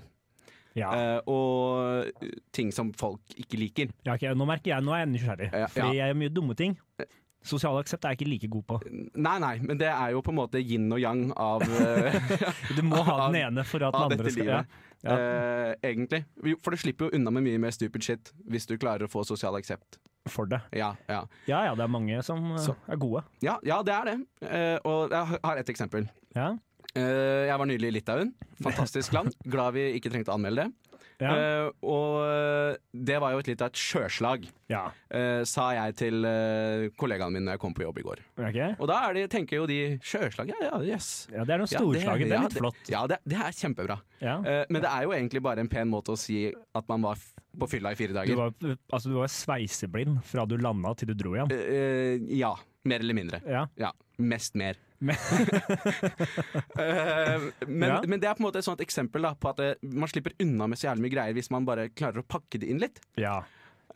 B: ja.
E: Eh, og eh, ting som folk ikke liker.
B: ja ok, Nå merker jeg, nå er jeg nysgjerrig,
E: Ja,
B: fordi jeg gjør mye dumme ting. Sosial aksept er jeg ikke like god på.
E: Nei, nei, men det er jo på en måte yin og yang av, eh,
B: Du må ha den
E: Av-
B: ene for at
E: av
B: den
E: dette
B: andre skal
E: livet.
B: ja. Ja.
E: eh, egentlig. Jo, For du slipper jo unna med mye mer stupid shit hvis du klarer å få sosial aksept.
B: for det.
E: Ja, ja.
B: Ja ja, det er mange som eh,
E: Så-
B: er gode.
E: ja, ja det er det. Eh, og jeg har et eksempel.
B: Ja.
E: Eh, jeg var nylig i Litauen. Fantastisk land. Glad vi ikke trengte å anmelde det.
B: Ja.
E: Eh, og det var jo et litt av et sjøslag.
B: ja.
E: eh, sa jeg til eh, kollegaene mine når jeg kom på jobb i går.
B: ok.
E: Og da er det, tenker jo de sjøslag, ja, ja, yes.
B: Ja, Det er noe
E: Ja, det-
B: storslaget. Det
E: ja,
B: er litt flott.
E: Ja, det, det er kjempebra.
B: Ja.
E: Eh, men det er jo egentlig bare en pen måte å si at man var f- på fylla i fire
B: Du
E: dager.
B: var, altså, du var sveiseblind fra du landa til du dro igjen.
E: Eh, eh, ja. Mer eller mindre.
B: Ja.
E: Ja, mest mer.
B: Men-
E: Eh, men,
B: Ja.
E: men det er på en måte et sånt eksempel da, på at eh, man slipper unna med så jævlig mye greier hvis man bare klarer å pakke det inn litt.
B: ja.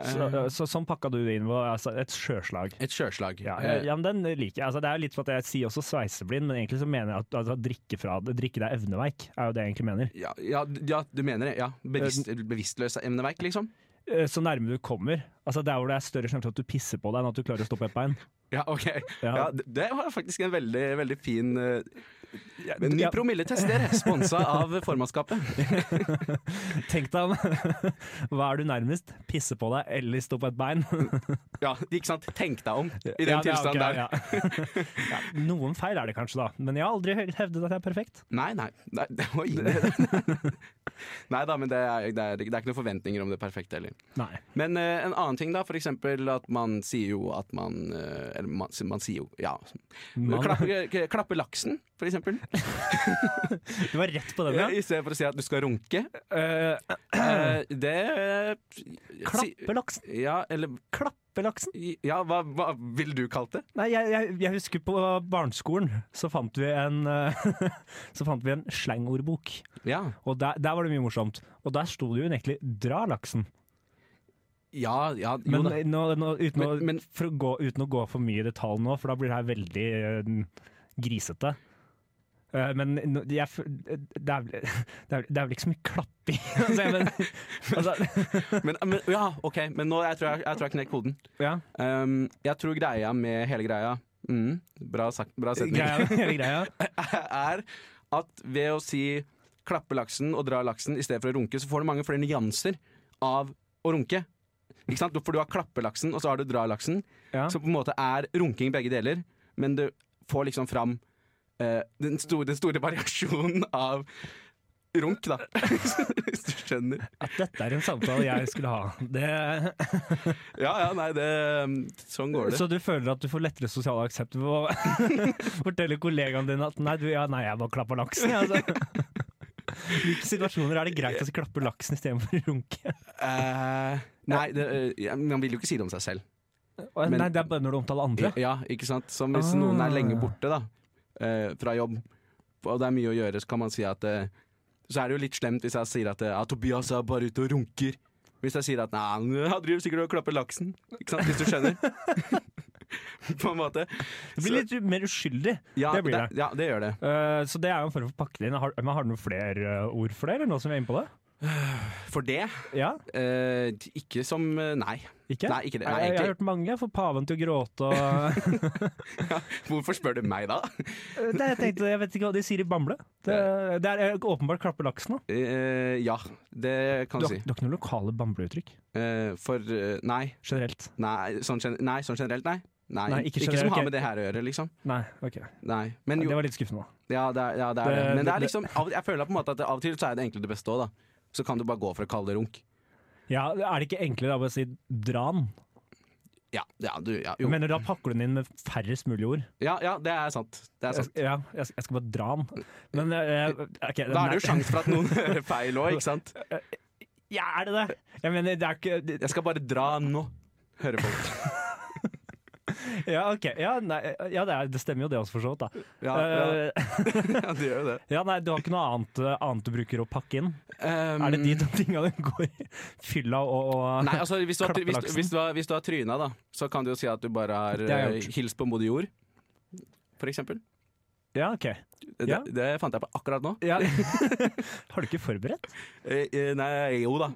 B: Så,
E: Eh.
B: så sånn pakka du det inn. var, Altså, et sjøslag.
E: Et sjøslag.
B: Ja,
E: Eh,
B: ja, men den liker jeg. Altså, det er jo litt for at jeg sier også sveiseblind, men egentlig så mener jeg at altså, drikke, fra, drikke deg evneveik, er jo det jeg egentlig mener.
E: ja, ja, d- ja, du mener det. Ja. Bevisst, bevisstløse emneverk, liksom.
B: Eh, Så nærme du kommer, altså der hvor det er større sjanse for at du pisser på deg enn at du klarer å stå på ett bein.
E: Ja, ok.
B: Ja.
E: Ja. det- det var faktisk en veldig, veldig fin eh, Ny
B: ja.
E: promilletest, dere! Sponsa av formannskapet.
B: Tenk deg om Hva er du nærmest? Pisse på deg eller stå på et bein?
E: Ja, ikke sant? Tenk deg om i den
B: Ja, det er ok,
E: tilstanden der.
B: ja. Ja, noen feil er det kanskje, da, men jeg har aldri hø- hevdet at jeg er perfekt.
E: Nei, nei. Nei, oi, det- nei da, men det er, det, er, det er ikke noen forventninger om det perfekte heller.
B: Nei.
E: Men eh, en annen ting, da. For eksempel at man sier jo at man eh, Eller man, man sier jo Ja.
B: Man-
E: Klappe, k- klappe laksen, for eksempel.
B: Du var rett på den, ja.
E: I stedet for å si at du skal runke.
B: Eh,
E: Eh, det eh, si-
B: klappe laksen.
E: Ja, eller
B: Klappe laksen.
E: Ja, hva, hva ville du kalt det?
B: Nei, jeg, jeg, jeg husker på barneskolen så fant vi en, eh, så fant vi en slangordbok.
E: Ja,
B: Og der, der var det mye morsomt. Og der sto det jo egentlig 'dra laksen'.
E: ja, ja jo
B: Men
E: da.
B: nå, nå, uten, å,
E: Men- men-
B: for å gå, uten å gå for mye i detalj nå, for da blir det her veldig eh, grisete. Eh, men nå- jeg, f- eh, det, er, vel- det, er, det er vel ikke så mye klapping? altså, jeg, men, altså,
E: Men, men, ja, ok, men nå jeg tror jeg, jeg, tror jeg knekk koden.
B: ja,
E: Um, jeg tror greia med hele greia mm, Bra, sagt, bra setning.
B: greia, hele greia.
E: er at ved å si klappe laksen og dra laksen i stedet for å runke, så får du mange flere nyanser av å runke. Ikke sant? For du har klappelaksen, og så har du dralaksen,
B: Ja.
E: som på en måte er runking begge deler, men du får liksom fram eh, den, store, den store variasjonen av runk, da. Hvis du skjønner.
B: At dette er en samtale jeg skulle ha. Det
E: Ja, ja, nei, det Sånn går det.
B: Så du føler at du får lettere sosial aksept ved å fortelle kollegaene dine at nei, du, ja, nei jeg bare klappa laksen. jeg, Altså. Hvilke situasjoner er det greit å klappe laksen istedenfor å runke?
E: Eh, nei, det, eh, ja, man vil jo ikke si det om seg selv.
B: Å,
E: Men-
B: nei, det er bare når du omtaler andre.
E: Ja, ikke sant? Som hvis
B: Ah.
E: noen er lenge borte da, eh, fra jobb, og det er mye å gjøre, så kan man si at eh, Så er det jo litt slemt hvis jeg sier at eh, ah, 'Tobias er bare ute og runker'. Hvis jeg sier at 'nei, han driver sikkert og klapper laksen'. Ikke sant? Hvis du skjønner. På en måte.
B: Det blir litt mer uskyldig.
E: ja,
B: det blir
E: Ja, det gjør det.
B: Eh, så det er jo en form for pakkelinje. Har, men har du noen flere eh, ord for det, eller nå som vi er inne på det?
E: For det?
B: Ja,
E: Eh, ikke som eh, Nei.
B: ikke?
E: Nei, ikke
B: jeg, jeg
E: det. Nei,
B: har
E: egentlig.
B: hørt mange. Jeg får paven til å gråte og Eh,
E: Hvorfor spør du meg da?
B: det, jeg, tenkte, jeg vet ikke hva de sier i Bamble. Det, det er eh, åpenbart klappelaksen. da.
E: Eh, ja, det kan
B: Du
E: du
B: har
E: si.
B: du har ikke noen lokale Bamble-uttrykk
E: Eh, for eh, nei.
B: generelt?
E: Nei sånn, gen- nei, sånn generelt, nei. Nei,
B: Nei, ikke
E: ikke,
B: generelt,
E: som har
B: ok.
E: med det her å gjøre, liksom.
B: Nei, ok.
E: Nei. Men
B: Det
E: jo,
B: var litt skuffende. da.
E: ja, det er, ja, det, er det.
B: Det-
E: Men det er
B: det-
E: liksom, av, jeg føler på en måte at det, av og til så er det egentlig det beste òg, da. Så kan du bare gå for å kalle det runk.
B: Ja, Er det ikke enklere da bare å si 'dran'?
E: Ja, ja, du, ja, jo.
B: Mener da pakker du den inn med færrest mulig ord?
E: ja, ja, det er sant. Det er
B: Jeg,
E: sant.
B: skal- ja, jeg, skal- jeg skal bare dra den. Men eh, ok, den
E: Da
B: der-
E: er det jo sjanse for at noen hører feil òg, ikke sant?
B: Ja, er det det? Jeg mener, det er ikke det-
E: Jeg skal bare dra nå, hører folk.
B: Ja, ok. Ja, nei, ja det, er, det stemmer jo det også, for så vidt. da.
E: Ja, ja,
B: Eh,
E: ja du gjør jo det.
B: ja, nei, Du har ikke noe annet, eh, annet du bruker å pakke inn? Er det de to tinga du går i? Fylla og, og
E: Mm. Um, Nei, altså hvis du, har, hvis,
B: Klappelaksen.
E: hvis, du har, hvis du har tryna, da, så kan du jo si at du bare har
B: Det har jeg
E: eh,
B: gjort.
E: hilst på moder jord, for eksempel.
B: Ja, ok.
E: Det,
B: Ja.
E: det fant jeg på akkurat nå.
B: Ja. har du ikke forberedt?
E: Eh, eh, nei, jo da.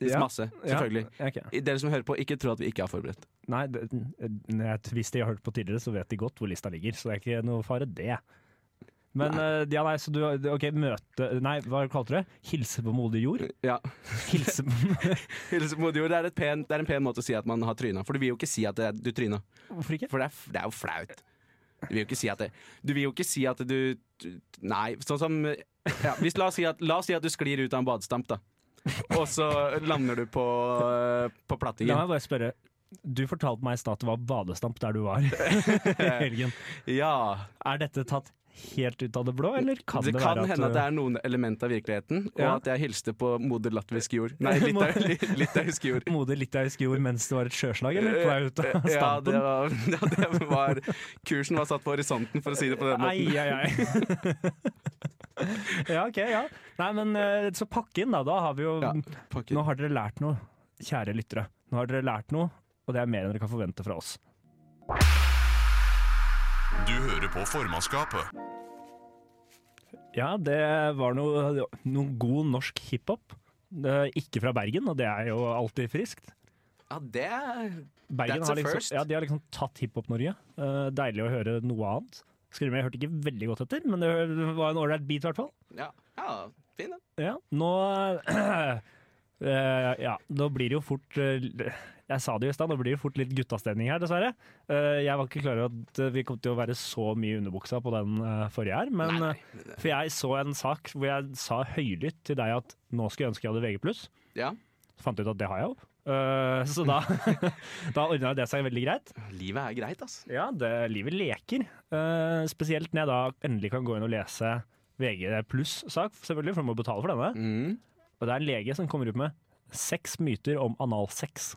B: Ja.
E: Masse, selvfølgelig.
B: Ja, ok.
E: Dere som hører på, ikke tro at vi ikke har forberedt.
B: Nei, det, når jeg, hvis de har hørt på tidligere, så vet de godt hvor lista ligger, så det er ikke noe fare det. Men eh, ja, nei, så du OK, møte Nei, hva kalte du det? Hilse på modig jord?
E: Ja.
B: Hilse på
E: Hilse på moder jord det er, et pen, det er en pen måte å si at man har tryna, for du vil jo ikke si at det er- du tryna.
B: Hvorfor ikke?
E: For det er, f- det er jo flaut. Du vil jo ikke si at det Du vil jo ikke si at du du- Nei, sånn som ja, hvis, la, oss si at, la oss si at du sklir ut av en badestamp, da. Og så lander du på, eh, på
B: La
E: plattingen.
B: meg bare spørre. Du fortalte meg i stad at det var badestamp der du var i helgen.
E: Ja.
B: Er dette tatt helt ut av det blå, eller kan det,
E: det kan
B: være
E: hende
B: at
E: at det er noen element av virkeligheten, og
B: Ja.
E: at jeg hilste på moder latvisk jord. Nei,
B: Moder-
E: litau- li- litauisk jord.
B: du modig litauisk jord mens det var et sjøslag, eller? På vei ut av
E: Eh, Ja, det
B: stampen?
E: var, ja, det var Kursen var satt på horisonten, for å si det på den måten.
B: Ai, ai, ai. ja, ok, ja. Nei, men eh, så pakk inn, da. Da har vi jo
E: Ja, pakker.
B: Nå har dere lært noe, kjære lyttere. Nå har dere lært noe, og det er mer enn dere kan forvente fra oss.
A: Du hører på formannskapet.
B: Ja, det var noe, noe god norsk hiphop. Eh, Ikke fra Bergen, og det er jo alltid friskt.
E: Ja, det er-
B: Bergen
E: That's
B: har
E: a
B: liksom,
E: first.
B: ja, de har liksom tatt hiphop-Norge. Eh, deilig å høre noe annet. Skriver meg, jeg hørte ikke veldig godt etter, men det var en ålreit beat i hvert fall.
E: Ja, ja fin den.
B: Ja, nå Eh, Ja, nå blir det jo fort eh, Jeg sa det jo i stad, nå blir det fort litt guttastemning her, dessverre. Eh, jeg var ikke klar over at eh, vi kom til å være så mye i underbuksa på den eh, forrige her, men eh, For jeg så en sak hvor jeg sa høylytt til deg at nå skulle jeg ønske jeg hadde VG+.
E: Ja.
B: Så fant jeg ut at det har jeg jo. Eh, så da, da ordna det seg veldig greit.
E: Livet er greit, altså.
B: Ja, det, livet leker. Eh, spesielt når jeg da endelig kan gå inn og lese VG pluss-sak, selvfølgelig, for du må betale for denne.
E: Mm.
B: Og det er en lege som kommer ut med seks myter om analsex.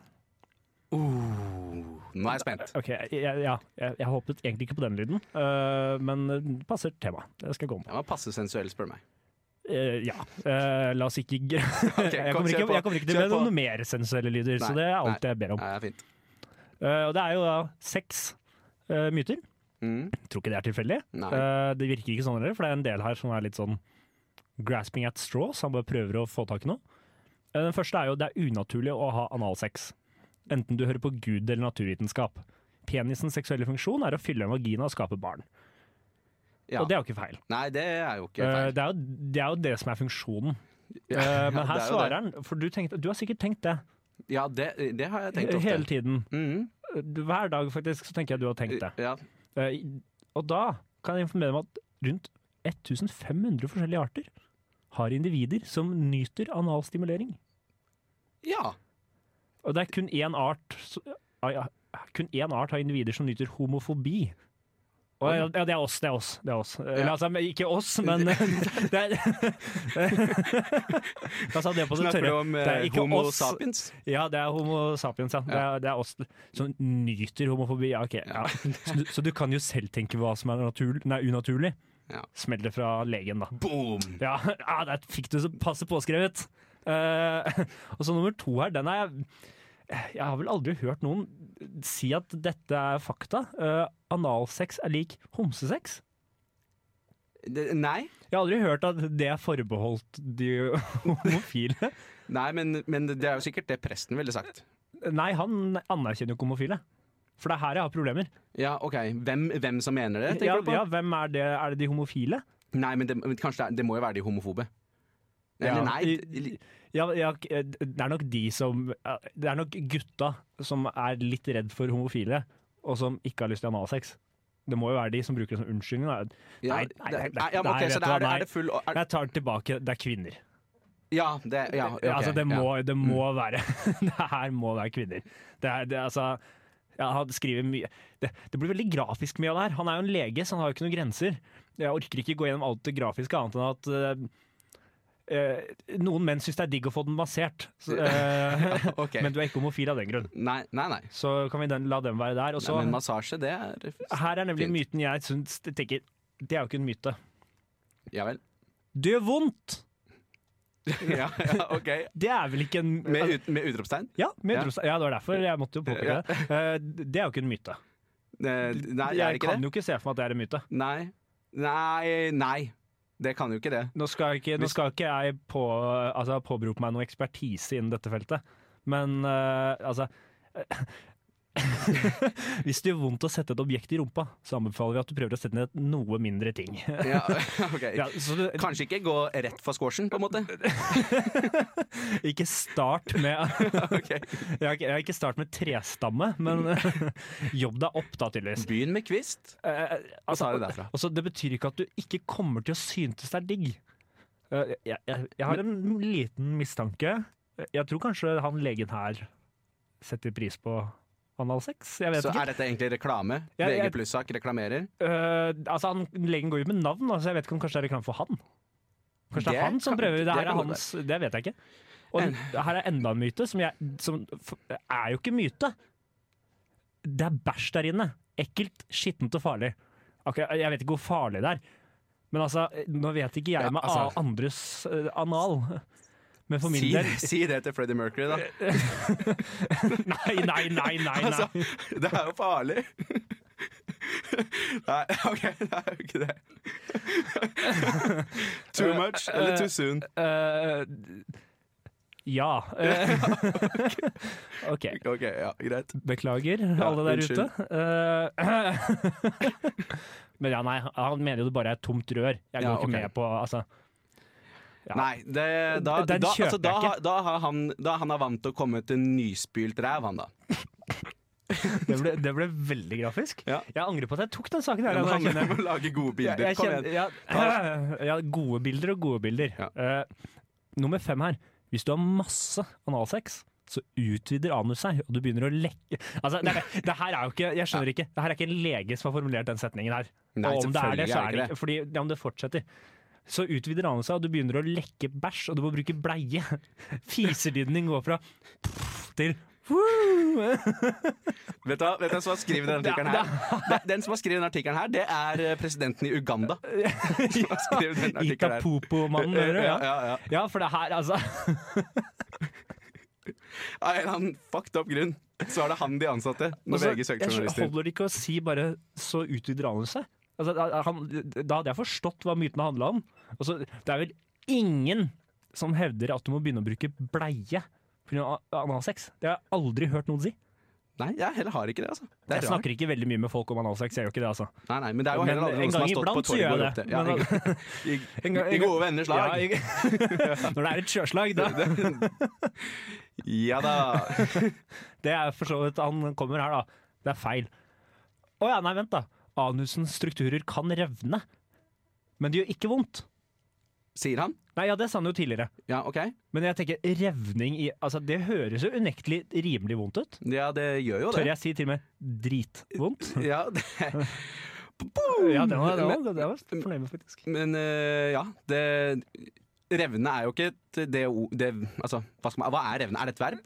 E: Uh, Nå er jeg spent.
B: Ok, jeg, jeg- ja, jeg, jeg håpet egentlig ikke på den lyden, øh, men den passer temaet. Det skal jeg komme på.
E: Jeg var passe sensuell, spør du meg.
B: Eh, ja, eh, la oss ikke gr- jeg,
E: kom,
B: kommer
E: kjør
B: ikke
E: på.
B: jeg kommer ikke til
E: Kjør
B: med
E: på.
B: noen mer sensuelle lyder, så
E: Nei,
B: det er alt
E: nei.
B: jeg ber om.
E: Ja, det er fint.
B: Eh, og det er jo da seks eh, myter.
E: Mm.
B: Jeg tror ikke det er tilfeldig.
E: Nei.
B: Eh, det virker ikke sånn heller, for det er en del her som er litt sånn grasping at straws. Han bare prøver å få tak i noe. Eh, den første er jo det er unaturlig å ha analsex. Enten du hører på Gud eller naturvitenskap. Penisens seksuelle funksjon er å fylle en vagina og skape barn.
E: Ja.
B: Og det er jo ikke feil.
E: Nei, det er jo ikke
B: Eh,
E: feil.
B: det, er jo, det er jo det som er funksjonen.
E: Ja,
B: Eh, men
E: det
B: her
E: er jo
B: svarer
E: det.
B: han, for du, tenkte, du har sikkert tenkt det
E: Ja, det, det har jeg tenkt ofte.
B: hele tiden.
E: Mhm.
B: Hver dag faktisk så tenker jeg du har tenkt det.
E: Ja.
B: Eh, i- Og da kan jeg informere om at rundt 1500 forskjellige arter har individer som nyter analstimulering.
E: ja.
B: Og det er kun én art s- ah, ja, Kun én art har individer som nyter homofobi. Og, ja, ja, det er oss, det er oss. Det er oss. Eh,
E: Ja.
B: La oss ha- ikke oss, men det er, La oss ha det på det
E: Snakker du
B: tørre.
E: om
B: Det er
E: eh,
B: ikke
E: Homo
B: oss.
E: sapiens?
B: Ja, det er homo sapiens, ja. Det er, det er oss som nyter homofobi. Ja, ok. Ja. Så, du, så du kan jo selv tenke hva som er naturlig, nei, unaturlig.
E: Ja.
B: Smell det fra legen, da.
E: Boom!
B: Ja, ja der fikk du så passe påskrevet. Eh, og så nummer to her, den er jeg Jeg har vel aldri hørt noen si at dette er fakta. Eh, analsex er lik homsesex.
E: Det, nei.
B: Jeg har aldri hørt at det er forbeholdt de homofile.
E: Nei, men, men det er jo sikkert det presten ville sagt.
B: Nei, han anerkjenner jo ikke homofile. For det er her jeg har problemer.
E: Ja, ok. Hvem, hvem som mener det, tenker
B: Ja,
E: du på?
B: ja, hvem Er det Er det de homofile?
E: Nei, men det, men kanskje det, er- det må jo være de homofobe. Eller
B: Ja.
E: nei,
B: I- Ja, ja, eh, det er nok de som Det er nok gutta som er litt redd for homofile, og som ikke har lyst til analsex. Det må jo være de som bruker det som unnskyldning. da.
E: ja,
B: Nei,
E: det-
B: nei, nei,
E: nei, ja, men
B: nei,
E: ok,
B: vet
E: Så
B: du
E: det er,
B: hva,
E: er det full er,
B: Jeg tar det tilbake, det er kvinner.
E: Ja, det ja, ok,
B: altså, det må,
E: ja. Mm.
B: det må være Det her må være kvinner. Det er, det, er altså ja, Han skriver mye det, det blir veldig grafisk mye av det her. Han er jo en lege, så han har jo ikke noen grenser. Jeg orker ikke gå gjennom alt det grafiske, annet enn at eh, eh, noen menn syns det er digg å få den massert, så, eh,
E: Ok.
B: men du er ikke homofil av den grunn.
E: Nei, nei. nei.
B: Så kan vi den, la den være der. Og så,
E: nei men massasje, det er
B: her er nemlig
E: fint.
B: myten jeg syns tenker Det er jo ikke en myte.
E: Ja vel.
B: Det gjør vondt!
E: Ja, ja, ok.
B: Det er vel ikke en
E: Med, ut, med utropstegn?
B: Ja, med
E: Ja.
B: Drostein. ja, det var derfor jeg måtte jo påpeke det. Eh, Det er jo ikke en myte.
E: Eh, Nei, er det
B: jeg
E: ikke
B: kan
E: det?
B: jo ikke se for meg at det er en myte.
E: Nei. Nei, nei. Det kan jo ikke det.
B: Nå skal jeg ikke, nå skal ikke jeg på, altså, påberope meg noe ekspertise innen dette feltet, men eh, altså Hvis det gjør vondt å sette et objekt i rumpa, så anbefaler vi at du prøver å sette ned et noe mindre ting.
E: Ja, ok.
B: Ja, så du,
E: Kanskje ikke gå rett for squashen, på en måte.
B: ikke start med
E: Ok.
B: Jeg har ikke, jeg har ikke start med trestamme, men jobb deg opp, da, tydeligvis.
E: Begynn med kvist.
B: Eh, altså,
E: tar det derfra.
B: altså, det betyr ikke at du ikke kommer til å synes det er digg. Eh, jeg, jeg, jeg har en liten mistanke. Eh, Jeg tror kanskje han legen her setter pris på analsex. Jeg vet
E: Så
B: ikke.
E: er dette egentlig reklame?
B: Ja, jeg-
E: VG plussak reklamerer?
B: Eh, altså, han, legen går jo med navn, da, så jeg vet ikke om kanskje det er reklame for han. Kanskje det
E: Det
B: er han som
E: kan-
B: prøver.
E: det
B: Det her
E: kan
B: er
E: godt
B: hans, det vet jeg ikke. Og den- her er enda en myte, som, jeg, som f- er jo ikke myte. Det er bæsj der inne. Ekkelt, skittent og farlig. Akkurat, jeg vet ikke hvor farlig det er. Men altså, nå vet ikke jeg
E: Ja,
B: med
E: altså-
B: a- andres eh, anal. Men for min
E: Si,
B: del
E: si det til Freddie Mercury, da.
B: Nei, nei, nei, nei. nei.
E: Altså, det er jo farlig. Nei, OK, det er jo ikke det. Too much eller too soon?
B: Eh, ja. Eh, OK.
E: OK, ja, greit.
B: Beklager,
E: Ja,
B: alle der
E: unnskyld.
B: ute. Eh, Men ja, nei, han mener jo det bare er et tomt rør. Jeg går
E: Ja,
B: ikke
E: ok.
B: med på altså. Ja.
E: Nei, det, da,
B: Den
E: da,
B: kjøper
E: altså, da,
B: jeg
E: har- da har han, da han er vant til å komme til nyspylt ræv, han da.
B: det, ble, det ble veldig grafisk.
E: Ja.
B: Jeg angrer på at jeg tok den saken her.
E: Men
B: jeg
E: han
B: kjenner-
E: må lage gode
B: jeg,
E: bilder.
B: jeg
E: Kom
B: kjenner,
E: igjen.
B: ja, ja, gode bilder og gode bilder.
E: Ja.
B: Eh, nummer fem her. Hvis du har masse analsex, så utvider anus seg, og du begynner å lekke Altså, det, er- det her er jo ikke Jeg skjønner ikke. Det her er ikke en lege som har formulert den setningen her.
E: Nei,
B: og om det er det,
E: selvfølgelig
B: så
E: er
B: er
E: det
B: det ikke Fordi ja, om det fortsetter. Så utvider anus seg, og du begynner å lekke bæsj, og du må bruke bleie. Fiselyden din går fra til
E: Vet du hva- vet du hvem som har skrevet den artikkelen her? Det- Den som har skrevet den artikkelen her, det er eh, presidenten i Uganda. Som har skrevet den artikkelen her.
B: Itapopo-mannen, hører du?
E: Ja,
B: Ja.
E: ja, ja.
B: ja, for det her, altså
E: Av en eller annen fucked up grunn, så er det han de ansatte når
B: Altså,
E: VG søkte
B: jeg skjønner-
E: journalister.
B: Holder det ikke å si bare 'så utvider han seg'? Altså, da- han, da hadde jeg forstått hva mytene handla om. Altså, det er vel ingen som hevder at du må begynne å bruke bleie pga. analsex. Det har jeg aldri hørt noen si.
E: Nei, jeg heller har ikke det, altså. Det
B: Jeg
E: er rart.
B: snakker ikke veldig mye med folk om analsex, jeg gjør ikke det, altså.
E: Nei, nei, men det er jo heller
B: Men
E: aldri
B: en
E: noen som har
B: gang
E: stått på
B: iblant så
E: torget
B: gjør
E: og
B: jeg
E: ropt det.
B: det.
E: Ja,
B: Men
E: i,
B: en gang-
E: i, I gode venners
B: Ja,
E: lag.
B: jeg, når det er et sjøslag, da.
E: Ja da.
B: Det er for så vidt han kommer her, da. Det er feil. Å ja, nei, vent, da. Anusens strukturer kan revne, men det gjør ikke vondt.
E: Sier han?
B: Nei, ja, det sa han jo tidligere.
E: Ja, OK.
B: Men jeg tenker revning i Altså, det høres jo unektelig rimelig vondt ut.
E: Ja, det gjør jo det.
B: Tør jeg si til og med dritvondt?
E: Ja, det
B: Ja, det var, det var, det var jeg fornøyd med, faktisk.
E: Men eh, ja, det Revne er jo ikke et det, o- det Altså, hva, skal man, hva er revne? Er det et verb?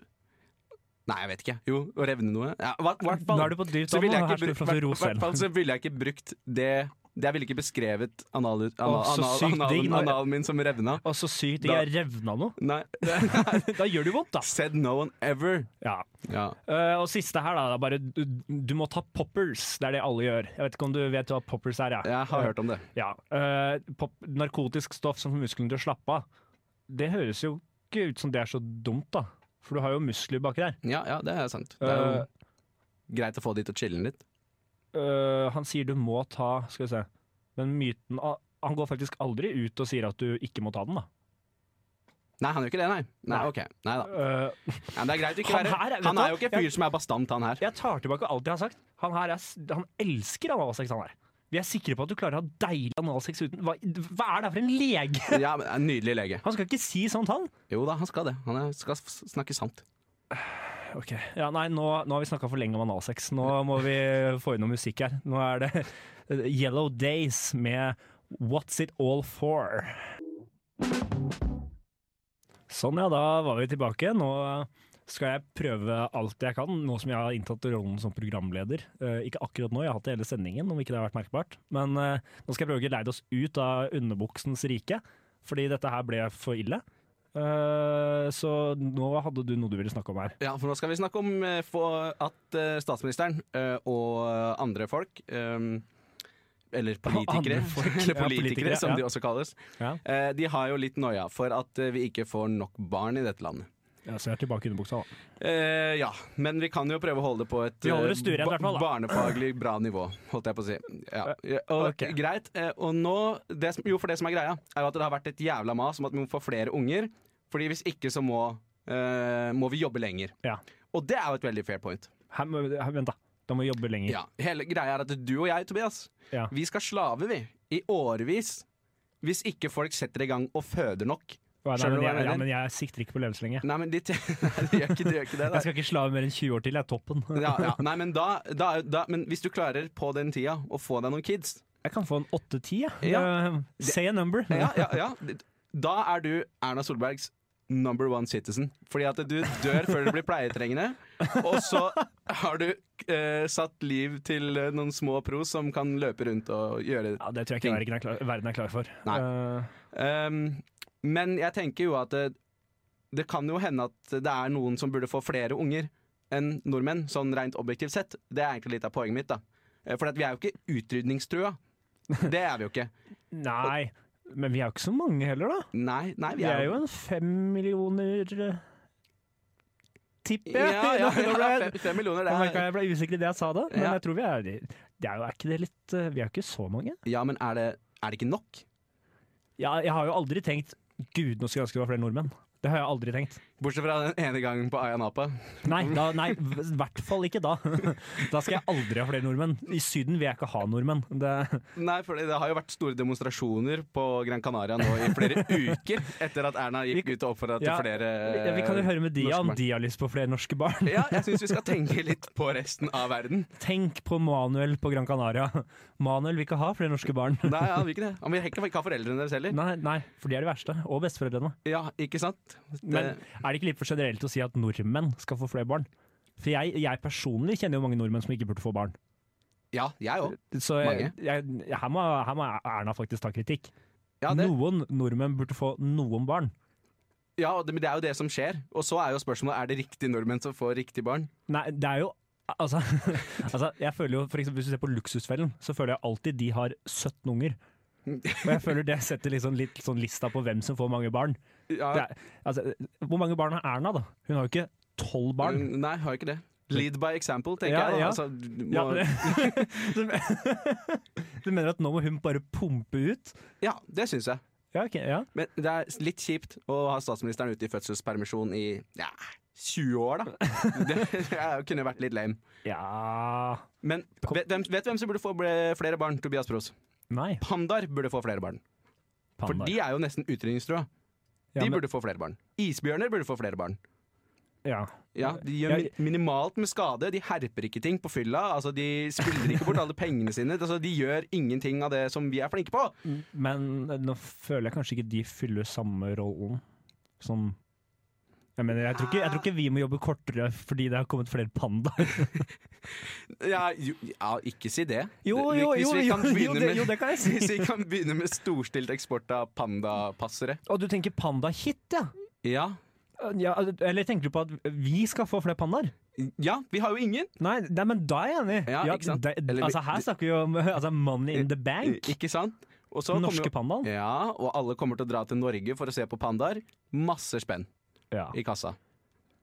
E: Nei, jeg vet ikke. Jo, å revne noe. Ja, hva,
B: Nå er du på dypt vann, og her skal du få
E: hvert
B: ros selv.
E: hvert fall så ville jeg ikke brukt det Jeg ville ikke beskrevet anal, anal,
B: Å, så
E: anal,
B: sykt digg
E: analen,
B: når-
E: analen min som revna.
B: Og så sykt
E: Da-
B: jeg revna noe.
E: Nei.
B: Da gjør det jo vondt, da.
E: Said no one ever.
B: Ja.
E: Ja.
B: Eh, og siste her, da. Det er bare, du, du må ta poppers. Det er det alle gjør. Jeg vet ikke om du vet hva poppers er? Ja.
E: Jeg har hørt om det.
B: Ja. Eh, pop, narkotisk stoff som får musklene til å slappe av. Det høres jo ikke ut som det er så dumt, da. For du har jo muskler baki der.
E: Ja, ja, det er sant. Det er jo greit å få de til å chille litt.
B: Eh, han sier du må ta Skal vi se. Men myten ah, Han går faktisk aldri ut og sier at du ikke må ta den, da.
E: Nei, han gjør ikke det, nei. Nei,
B: Nei.
E: ok. Nei da.
B: Eh,
E: Ja, men det er greit å ikke
B: Han
E: være
B: her er- vet
E: Han
B: du
E: er jo
B: hva?
E: ikke en fyr som er bastant, han her.
B: jeg tar tilbake alt jeg har sagt. Han her er, s- han elsker analsex, han her. Vi er sikre på at du klarer å ha deilig analsex uten Hva, hva er det her for en lege?
E: Ja, men en Nydelig lege.
B: Han skal ikke si sånt, han.
E: Jo da, han skal det. Han er, skal s- snakke sant.
B: Ok, ja, nei, nå, nå har vi snakka for lenge om analsex. Nå må vi få inn noe musikk her. Nå er det Yellow Days med What's It All For. Sånn, ja. Da var vi tilbake. Nå skal jeg prøve alt jeg kan, nå som jeg har inntatt rollen som programleder. Eh, ikke akkurat nå, jeg har hatt det hele sendingen, om ikke det har vært merkbart. Men eh, nå skal jeg prøve å geleide oss ut av underbuksens rike, fordi dette her ble for ille. Eh, så nå hadde du noe du ville snakke om her.
E: Ja, for nå skal vi snakke om eh, få- at eh, statsministeren eh, og andre folk eh, eller politikere,
B: Andre folk,
E: eller
B: ja,
E: politikere,
B: politikere,
E: som
B: ja.
E: de også kalles.
B: Ja.
E: Eh, De har jo litt noia for at eh, vi ikke får nok barn i dette landet.
B: Ja, så jeg er tilbake i underbuksa, da.
E: Eh, ja, men vi kan jo prøve å holde det på et
B: Vi holder
E: eh,
B: det stuerent i hvert fall, da.
E: barnefaglig bra nivå, holdt jeg på å si. Ja. Ja, Og,
B: ok.
E: Greit. eh, Og nå det som, Jo, for det som er greia, er jo at det har vært et jævla mas om at vi må få flere unger. Fordi hvis ikke så må, eh, må vi jobbe lenger.
B: Ja.
E: Og det er jo et veldig fair point.
B: Her, må- her, vent, da. Da må vi jobbe lenger.
E: Ja. Hele greia er at du og jeg, Tobias,
B: Mm. Ja.
E: vi skal slave, vi. I årevis. Hvis ikke folk setter i gang og føder nok.
B: Hva er det-
E: Skjønner du hva jeg
B: men, jeg, ja,
E: mener?
B: men jeg sikter ikke på levelseslenge.
E: Nei, men de, t- Nei, de gjør ikke, de gjør ikke det. da.
B: Jeg skal ikke slave mer enn 20 år til, jeg er toppen.
E: ja, ja. Nei, men, da, da, er- da, men hvis du klarer på den tida å få deg noen kids
B: Jeg kan få en 8-10, jeg.
E: Ja.
B: Eh, say a number.
E: ja, ja, ja. Da er du Erna Solbergs number one citizen. Fordi at du dør før du blir pleietrengende, og så har du eh, satt liv til eh, noen små pros som kan løpe rundt og gjøre
B: Ja, det tror jeg ikke verden er klar, verden er klar for.
E: Nei.
B: Eh,
E: Um, Men jeg tenker jo at det, det kan jo hende at det er noen som burde få flere unger enn nordmenn, sånn rent objektivt sett. Det er egentlig litt av poenget mitt, da. Eh, For at vi er jo ikke utrydningstrua. Det er vi jo ikke.
B: nei, men vi er jo ikke så mange heller, da.
E: Nei, nei
B: Vi er jo en fem millioner eh, Tipper
E: ja,
B: jeg.
E: ja, ja,
B: Nå ble jeg-
E: fem, fem millioner,
B: Jeg merket
E: det er
B: jeg ble usikker i det jeg sa det, men
E: Ja.
B: jeg tror vi er det er jo, er ikke det litt, eh, Vi er jo ikke så mange.
E: Ja, men er det, er det ikke nok?
B: Ja, jeg har jo aldri tenkt Gud, nå skulle jeg ønske det var flere nordmenn. Det har jeg aldri tenkt.
E: Bortsett fra den ene gangen på Ayia Napa.
B: Nei, da, nei, i hvert fall ikke da. Da skal jeg aldri ha flere nordmenn. I Syden vil jeg ikke ha nordmenn. Det,
E: Nei, for det har jo vært store demonstrasjoner på Gran Canaria nå i flere uker etter at Erna gikk ut og oppfordra til
B: Ja,
E: flere
B: vi kan jo høre med de
E: norske
B: om
E: Eh, barn.
B: de har lyst på flere norske barn.
E: Ja, jeg syns vi skal tenke litt på resten av verden.
B: Tenk på Manuel på Gran Canaria. Manuel vil ikke ha flere norske barn.
E: Nei, han vil ikke det. Han vil ikke ikke ha foreldrene deres heller.
B: Nei, nei, for de er de verste. Og besteforeldrene.
E: Ja, ikke sant? Det,
B: Men er det ikke litt for generelt å si at nordmenn skal få flere barn? For jeg, jeg personlig kjenner jo mange nordmenn som ikke burde få barn.
E: ja, jeg òg.
B: Så jeg,
E: Mange.
B: jeg, her, må, her må Erna faktisk ta kritikk.
E: Ja, det,
B: Noen nordmenn burde få noen barn.
E: ja, og det, men det er jo det som skjer. Og så er jo spørsmålet er det riktig nordmenn som får riktig barn.
B: Nei, det er jo Altså, altså jeg føler jo, for eksempel, Hvis du ser på Luksusfellen, så føler jeg alltid de har 17 unger. Og jeg føler det setter liksom litt sånn lista på hvem som får mange barn.
E: Ja,
B: Det er, altså, hvor mange barn har Erna, da? Hun har jo ikke tolv barn.
E: Mm, Nei, har ikke det. Lead by example, tenker
B: Ja,
E: jeg. Da.
B: ja.
E: Altså, du
B: Ja,
E: må,
B: det, du, men- du mener at nå må hun bare pumpe ut?
E: ja, det syns jeg.
B: Ja, ok, ja.
E: Men det er litt kjipt å ha statsministeren ute i fødselspermisjon i ja, 20 år, da. Det, det kunne vært litt lame.
B: ja
E: Men vet, hvem- vet du hvem som burde få ble- flere barn? Tobias Pros.
B: Nei.
E: Pandaer burde få flere barn. For
B: pandaer.
E: de er jo nesten utrydningstrua.
B: Ja,
E: De
B: men-
E: burde få flere barn. Isbjørner burde få flere barn.
B: ja.
E: Ja, De gjør
B: Jeg-
E: mi- minimalt med skade, de herper ikke ting på fylla. Altså, De skulder ikke bort alle pengene sine. Altså, de gjør ingenting av det som vi er flinke på.
B: Men nå føler jeg kanskje ikke de fyller samme rollen som Jeg, mener, jeg, tror ikke, jeg tror ikke vi må jobbe kortere fordi det har kommet flere pandaer.
E: Ja, jo, ja, ikke si det.
B: Jo,
E: Hvis-
B: jo,
E: hvis
B: jo,
E: vi
B: jo,
E: kan
B: jo,
E: begynne
B: det,
E: med-
B: jo, det kan jeg
E: Hvis
B: si.
E: vi kan begynne med storstilt eksport av pandapassere.
B: Og du tenker panda-hit, ja.
E: Ja.
B: ja? Eller tenker du på at vi skal få flere pandaer?
E: ja, vi har jo ingen!
B: Nei, nei, men da er jeg enig.
E: Ja, ikke sant?
B: det-
E: Eller vi-
B: altså, her snakker vi om altså, money in the bank.
E: Ikke sant? Og så
B: Den
E: kommer
B: norske
E: jo-
B: pandaen.
E: Ja, og alle kommer til å dra til Norge for å se på pandaer. Masse spenn
B: Ja.
E: i kassa.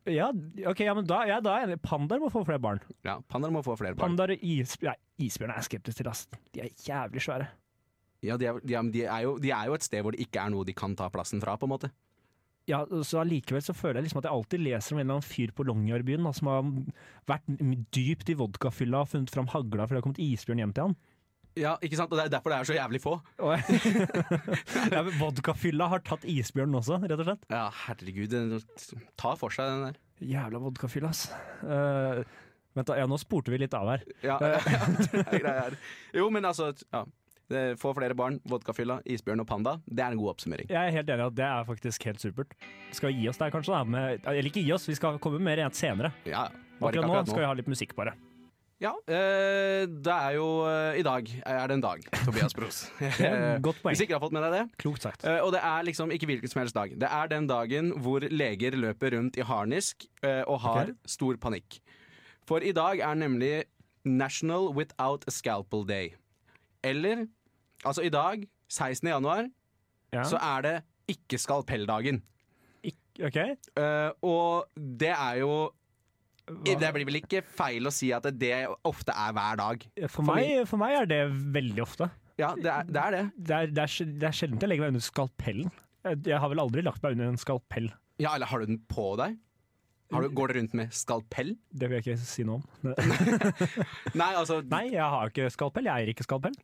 B: Ja, ok, ja, men da, ja, da er jeg enig. Pandaer må få flere barn.
E: Ja, Pandaer må få flere barn.
B: Pandaer og isbjørn Isbjørn er jeg skeptisk til, ass. De er jævlig svære.
E: Ja, de, er, de, er, de, er jo, de er jo et sted hvor det ikke er noe de kan ta plassen fra, på en måte.
B: Ja, så allikevel så føler jeg liksom at jeg alltid leser om en eller annen fyr på Longyearbyen da, som har vært m- dypt i vodkafylla og funnet fram hagla fordi det har kommet isbjørn hjem til han.
E: Ja, ikke sant? Og det er derfor det er så jævlig få.
B: ja, men vodkafylla har tatt isbjørnen også, rett og slett.
E: Ja, herregud. Den tar for seg den der.
B: Jævla vodkafylla, ass. Eh, vent da, ja, nå spurte vi litt av her.
E: Ja, ja, det er greier. Jo, men altså ja. Det- Få flere barn, vodkafylla, isbjørn og panda. Det er en god oppsummering.
B: Jeg er helt enig i at det er faktisk helt supert. Skal vi gi oss der kanskje? Da, med, eller ikke gi oss, vi skal komme med mer rent senere.
E: Ja, bare
B: Akkurat
E: ikke
B: nå
E: akkurat
B: skal
E: nå.
B: vi ha litt musikk, bare.
E: Ja, eh, det er jo eh, I dag er det en dag, Tobias Bros.
B: Det er et godt poeng.
E: Hvis ikke du har fått med deg det.
B: Klokt sagt.
E: Eh, og det er liksom ikke hvilken som helst dag. Det er den dagen hvor leger løper rundt i harnisk eh, og har
B: Ok.
E: stor panikk. For i dag er nemlig National Without a Scalpel Day. Eller Altså, i dag, 16. januar,
B: Ja.
E: så er det ikke skalpelldagen.
B: Ikk- ok.
E: Eh, og det er jo
B: Hva-
E: Det blir vel ikke feil å si at det ofte er hver dag.
B: For meg, for meg er det veldig ofte.
E: Ja, det er det. Er det.
B: Det er, det er, sjel- det er sjelden jeg legger meg under skalpellen. Jeg, jeg har vel aldri lagt meg under en skalpell.
E: Ja, eller har du den på deg? Har du, går du rundt med skalpell?
B: Det vil jeg ikke si noe om.
E: Nei, altså,
B: Nei, jeg har ikke skalpell. Jeg eier ikke skalpell.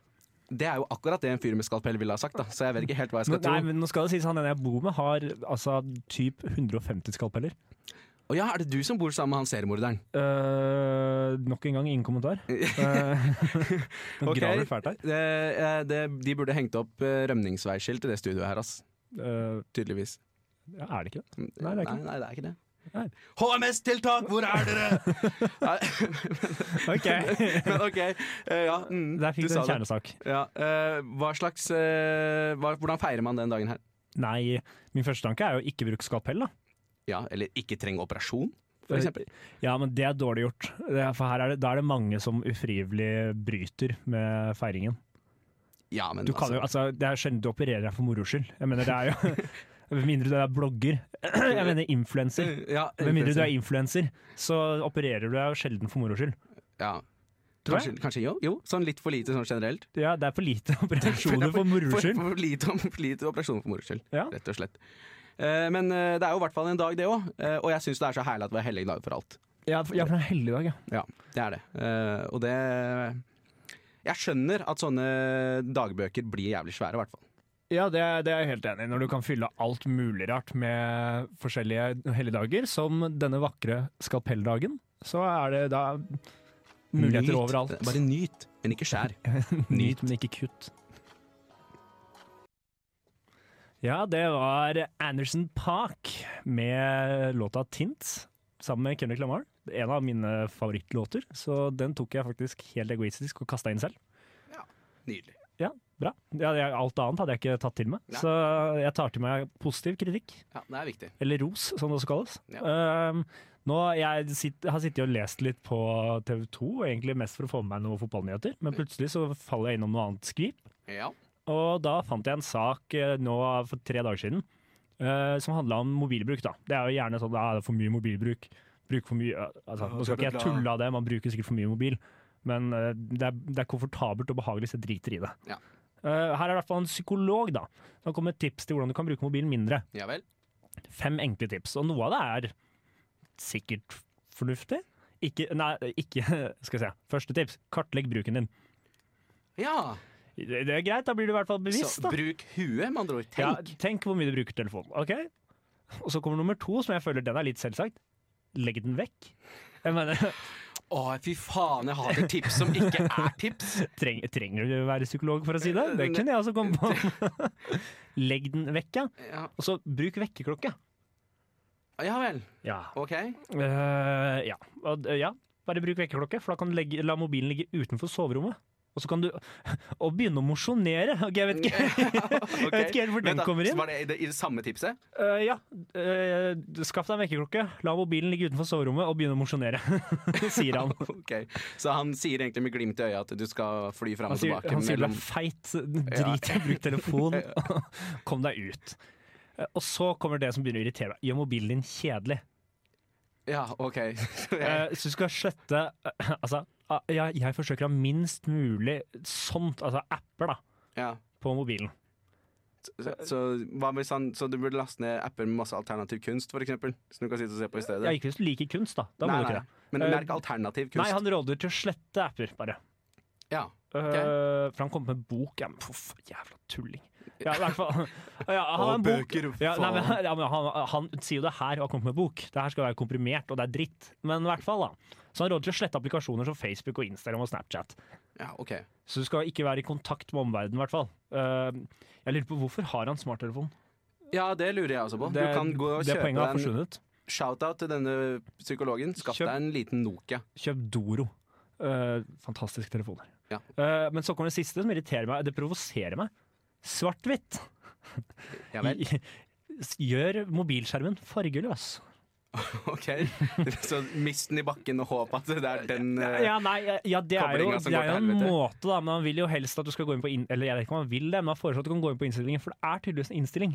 E: Det er jo akkurat det en fyr med skalpell ville ha sagt, da. så jeg vet ikke helt hva jeg
B: Nå,
E: skal
B: nei,
E: tro.
B: men nå skal det sies, han ene jeg bor med, har altså typ 150 skalpeller.
E: Å ja, er det du som bor sammen med han seriemorderen?
B: Eh, nok en gang ingen kommentar. Uh,
E: Ok.
B: Graver fælt her.
E: Det, eh, det, de burde hengt opp eh, rømningsveiskilt i det studioet her, ass.
B: Eh,
E: Tydeligvis.
B: ja, er det ikke det? det
E: Nei,
B: er ikke
E: nei,
B: det.
E: det er ikke det.
B: Nei.
E: HMS-tiltak, hvor er dere?! Nei,
B: Ok,
E: men ok, eh, ja. Mm,
B: Der fikk
E: du
B: du en
E: sa det.
B: kjernesak.
E: Ja, eh, hva slags eh, hva, Hvordan feirer man den dagen her?
B: Nei, min første tanke er jo ikke bruke skalpell, da.
E: Ja, eller ikke trenge operasjon,
B: Eh,
E: for eksempel.
B: Ja, men det er dårlig gjort. Det er- For her er det, da er det mange som ufrivillig bryter med feiringen.
E: Ja, men
B: Du kan jo, altså, det er sjelden du opererer deg for moro skyld. Jeg mener, det er jo Med mindre du er blogger. Jeg mener influenser.
E: ja,
B: Med mindre du er influenser, så opererer du deg jo sjelden for moro skyld.
E: ja.
B: Tror jeg.
E: Kanskje, kanskje jo, jo, sånn litt for lite sånn generelt.
B: Ja, det er for lite operasjoner for moro
E: For,
B: skyld.
E: for lite, for lite operasjoner for moro skyld,
B: Ja.
E: rett og slett. Eh, men eh, det er jo i hvert fall en dag, det òg. og jeg syns det er så herlig at vi har hellig dag for alt.
B: Ja, for ja, for det er en helligdag, ja.
E: Ja, det er det. Eh, og det Jeg skjønner at sånne dagbøker blir jævlig svære, i hvert fall.
B: Ja, det, er- det er jeg helt enig i. Når du kan fylle alt mulig rart med forskjellige helligdager, som denne vakre skalpelldagen, så er det da muligheter
E: Nyt.
B: overalt.
E: Bare nyt, men ikke skjær.
B: Nyt, men ikke kutt. Ja, det var Anderson Park med låta 'Tint', sammen med Kendrick Lamar. En av mine favorittlåter, så den tok jeg faktisk helt egoistisk og kasta inn selv.
E: Nydelig.
B: Ja, bra. Ja, jeg- alt annet hadde jeg ikke tatt til meg.
E: Nei.
B: Så jeg tar til meg positiv kritikk,
E: Ja, det er viktig.
B: eller ros, som det også kalles.
E: Ja.
B: Ehm, nå, Jeg sitt, har sittet og lest litt på TV 2, egentlig mest for å få med meg noen fotballnyheter, men plutselig så faller jeg innom noe annet skvip.
E: Ja.
B: Og da fant jeg en sak eh, nå for tre dager siden eh, som handla om mobilbruk. da. Det er jo gjerne sånn at det er for mye mobilbruk. Bruk for mye, eh, altså, nå skal ikke jeg tulle av det, man bruker sikkert for mye mobil. Men eh, det er, det er komfortabelt og behagelig, så jeg driter i det.
E: Ja.
B: Eh, her er det i hvert fall en psykolog da, som kommer med tips til hvordan du kan bruke mobilen mindre.
E: Ja vel.
B: Fem enkle tips, og noe av det er sikkert fornuftig. Ikke, nei, ikke Skal vi se. Første tips, kartlegg bruken din.
E: Ja.
B: Det, det er greit, da blir du i hvert fall bevisst.
E: Så
B: da.
E: bruk huet, med andre ord. Tenk.
B: Ja, tenk hvor mye du bruker telefonen. Ok? Og så kommer nummer to, som jeg føler den er litt selvsagt. Legg den vekk. Jeg mener,
E: Å, fy faen, jeg hater tips som ikke er tips!
B: treng, Trenger du å være psykolog for å si det? Det kunne jeg også komme på. Legg den vekk, ja.
E: Ja.
B: Og så bruk vekkerklokke.
E: Ja vel.
B: Ja.
E: Ok.
B: Eh, ja. Og, eh, ja. Bare bruk vekkerklokke, for da kan du legge, la mobilen ligge utenfor soverommet. Og så kan du Og begynne å mosjonere! Ok, jeg vet ikke, jeg vet ikke helt hvor den kommer inn.
E: Var det i det, i det samme tipset?
B: Eh, ja. Eh, skaff deg en vekkerklokke, la mobilen ligge utenfor soverommet og begynne å mosjonere, sier han.
E: Ok. Så han sier egentlig med glimt i øyet at du skal fly fram
B: Han
E: og
B: sier,
E: tilbake
B: han sier du er
E: mellom
B: feit, drit i å bruke telefon, kom deg ut. Eh, Og så kommer det som begynner å irritere deg. Gjør mobilen din kjedelig.
E: Ja, OK.
B: Eh, Så du skal slette Altså, ah, ja, jeg forsøker å ha minst mulig sånt, altså apper, da,
E: ja.
B: på mobilen.
E: Så, så, hva hvis han, så du burde laste ned apper med masse alternativ kunst, for eksempel? Som du kan sitte og se på i stedet?
B: Ja, ikke hvis du liker kunst, da. Da må
E: nei,
B: du ikke
E: nei.
B: det.
E: Men
B: Eh,
E: merk alternativ kunst.
B: Nei, han råder til å slette apper, bare.
E: Ja.
B: Eh, for han kom med en bok. Ja, men poff, jævla tulling. Ja, i hvert fall. Ja, han har
E: Og
B: en bok.
E: bøker,
B: Ja, nei, men,
E: faen.
B: ja, men han, han sier jo det her og har kommet med bok. Det her skal være komprimert, og det er dritt. Men i hvert fall, da. Så han råder til å slette applikasjoner som Facebook og Instagram og Snapchat.
E: ja, OK.
B: Så du skal ikke være i kontakt med omverdenen, i hvert fall. Eh, jeg lurer på hvorfor har han smarttelefon?
E: Ja, det lurer jeg også på.
B: Det,
E: du kan gå og
B: det
E: kjøpe
B: poenget har
E: deg en
B: forsvunnet.
E: Shout-out til denne psykologen. Skaff
B: Kjøp-
E: deg en liten Nokia.
B: Kjøp Doro. Eh, fantastiske telefoner.
E: Ja.
B: Eh, men så kommer det siste som irriterer meg. Det provoserer meg. Svart-hvitt.
E: Ja vel.
B: I- Gjør mobilskjermen fargeløs.
E: OK. Så mist den i bakken og håp at det er den eh,
B: Ja, nei, ja, ja, det er jo,
E: Koblinga som
B: det er
E: går
B: jo
E: til
B: en
E: helvete.
B: måte, da. Men han vil jo helst at du skal gå inn på inn, Eller jeg vet ikke om han vil det, men han foreslår at du kan gå inn på innstillingen, for det er tydeligvis en innstilling.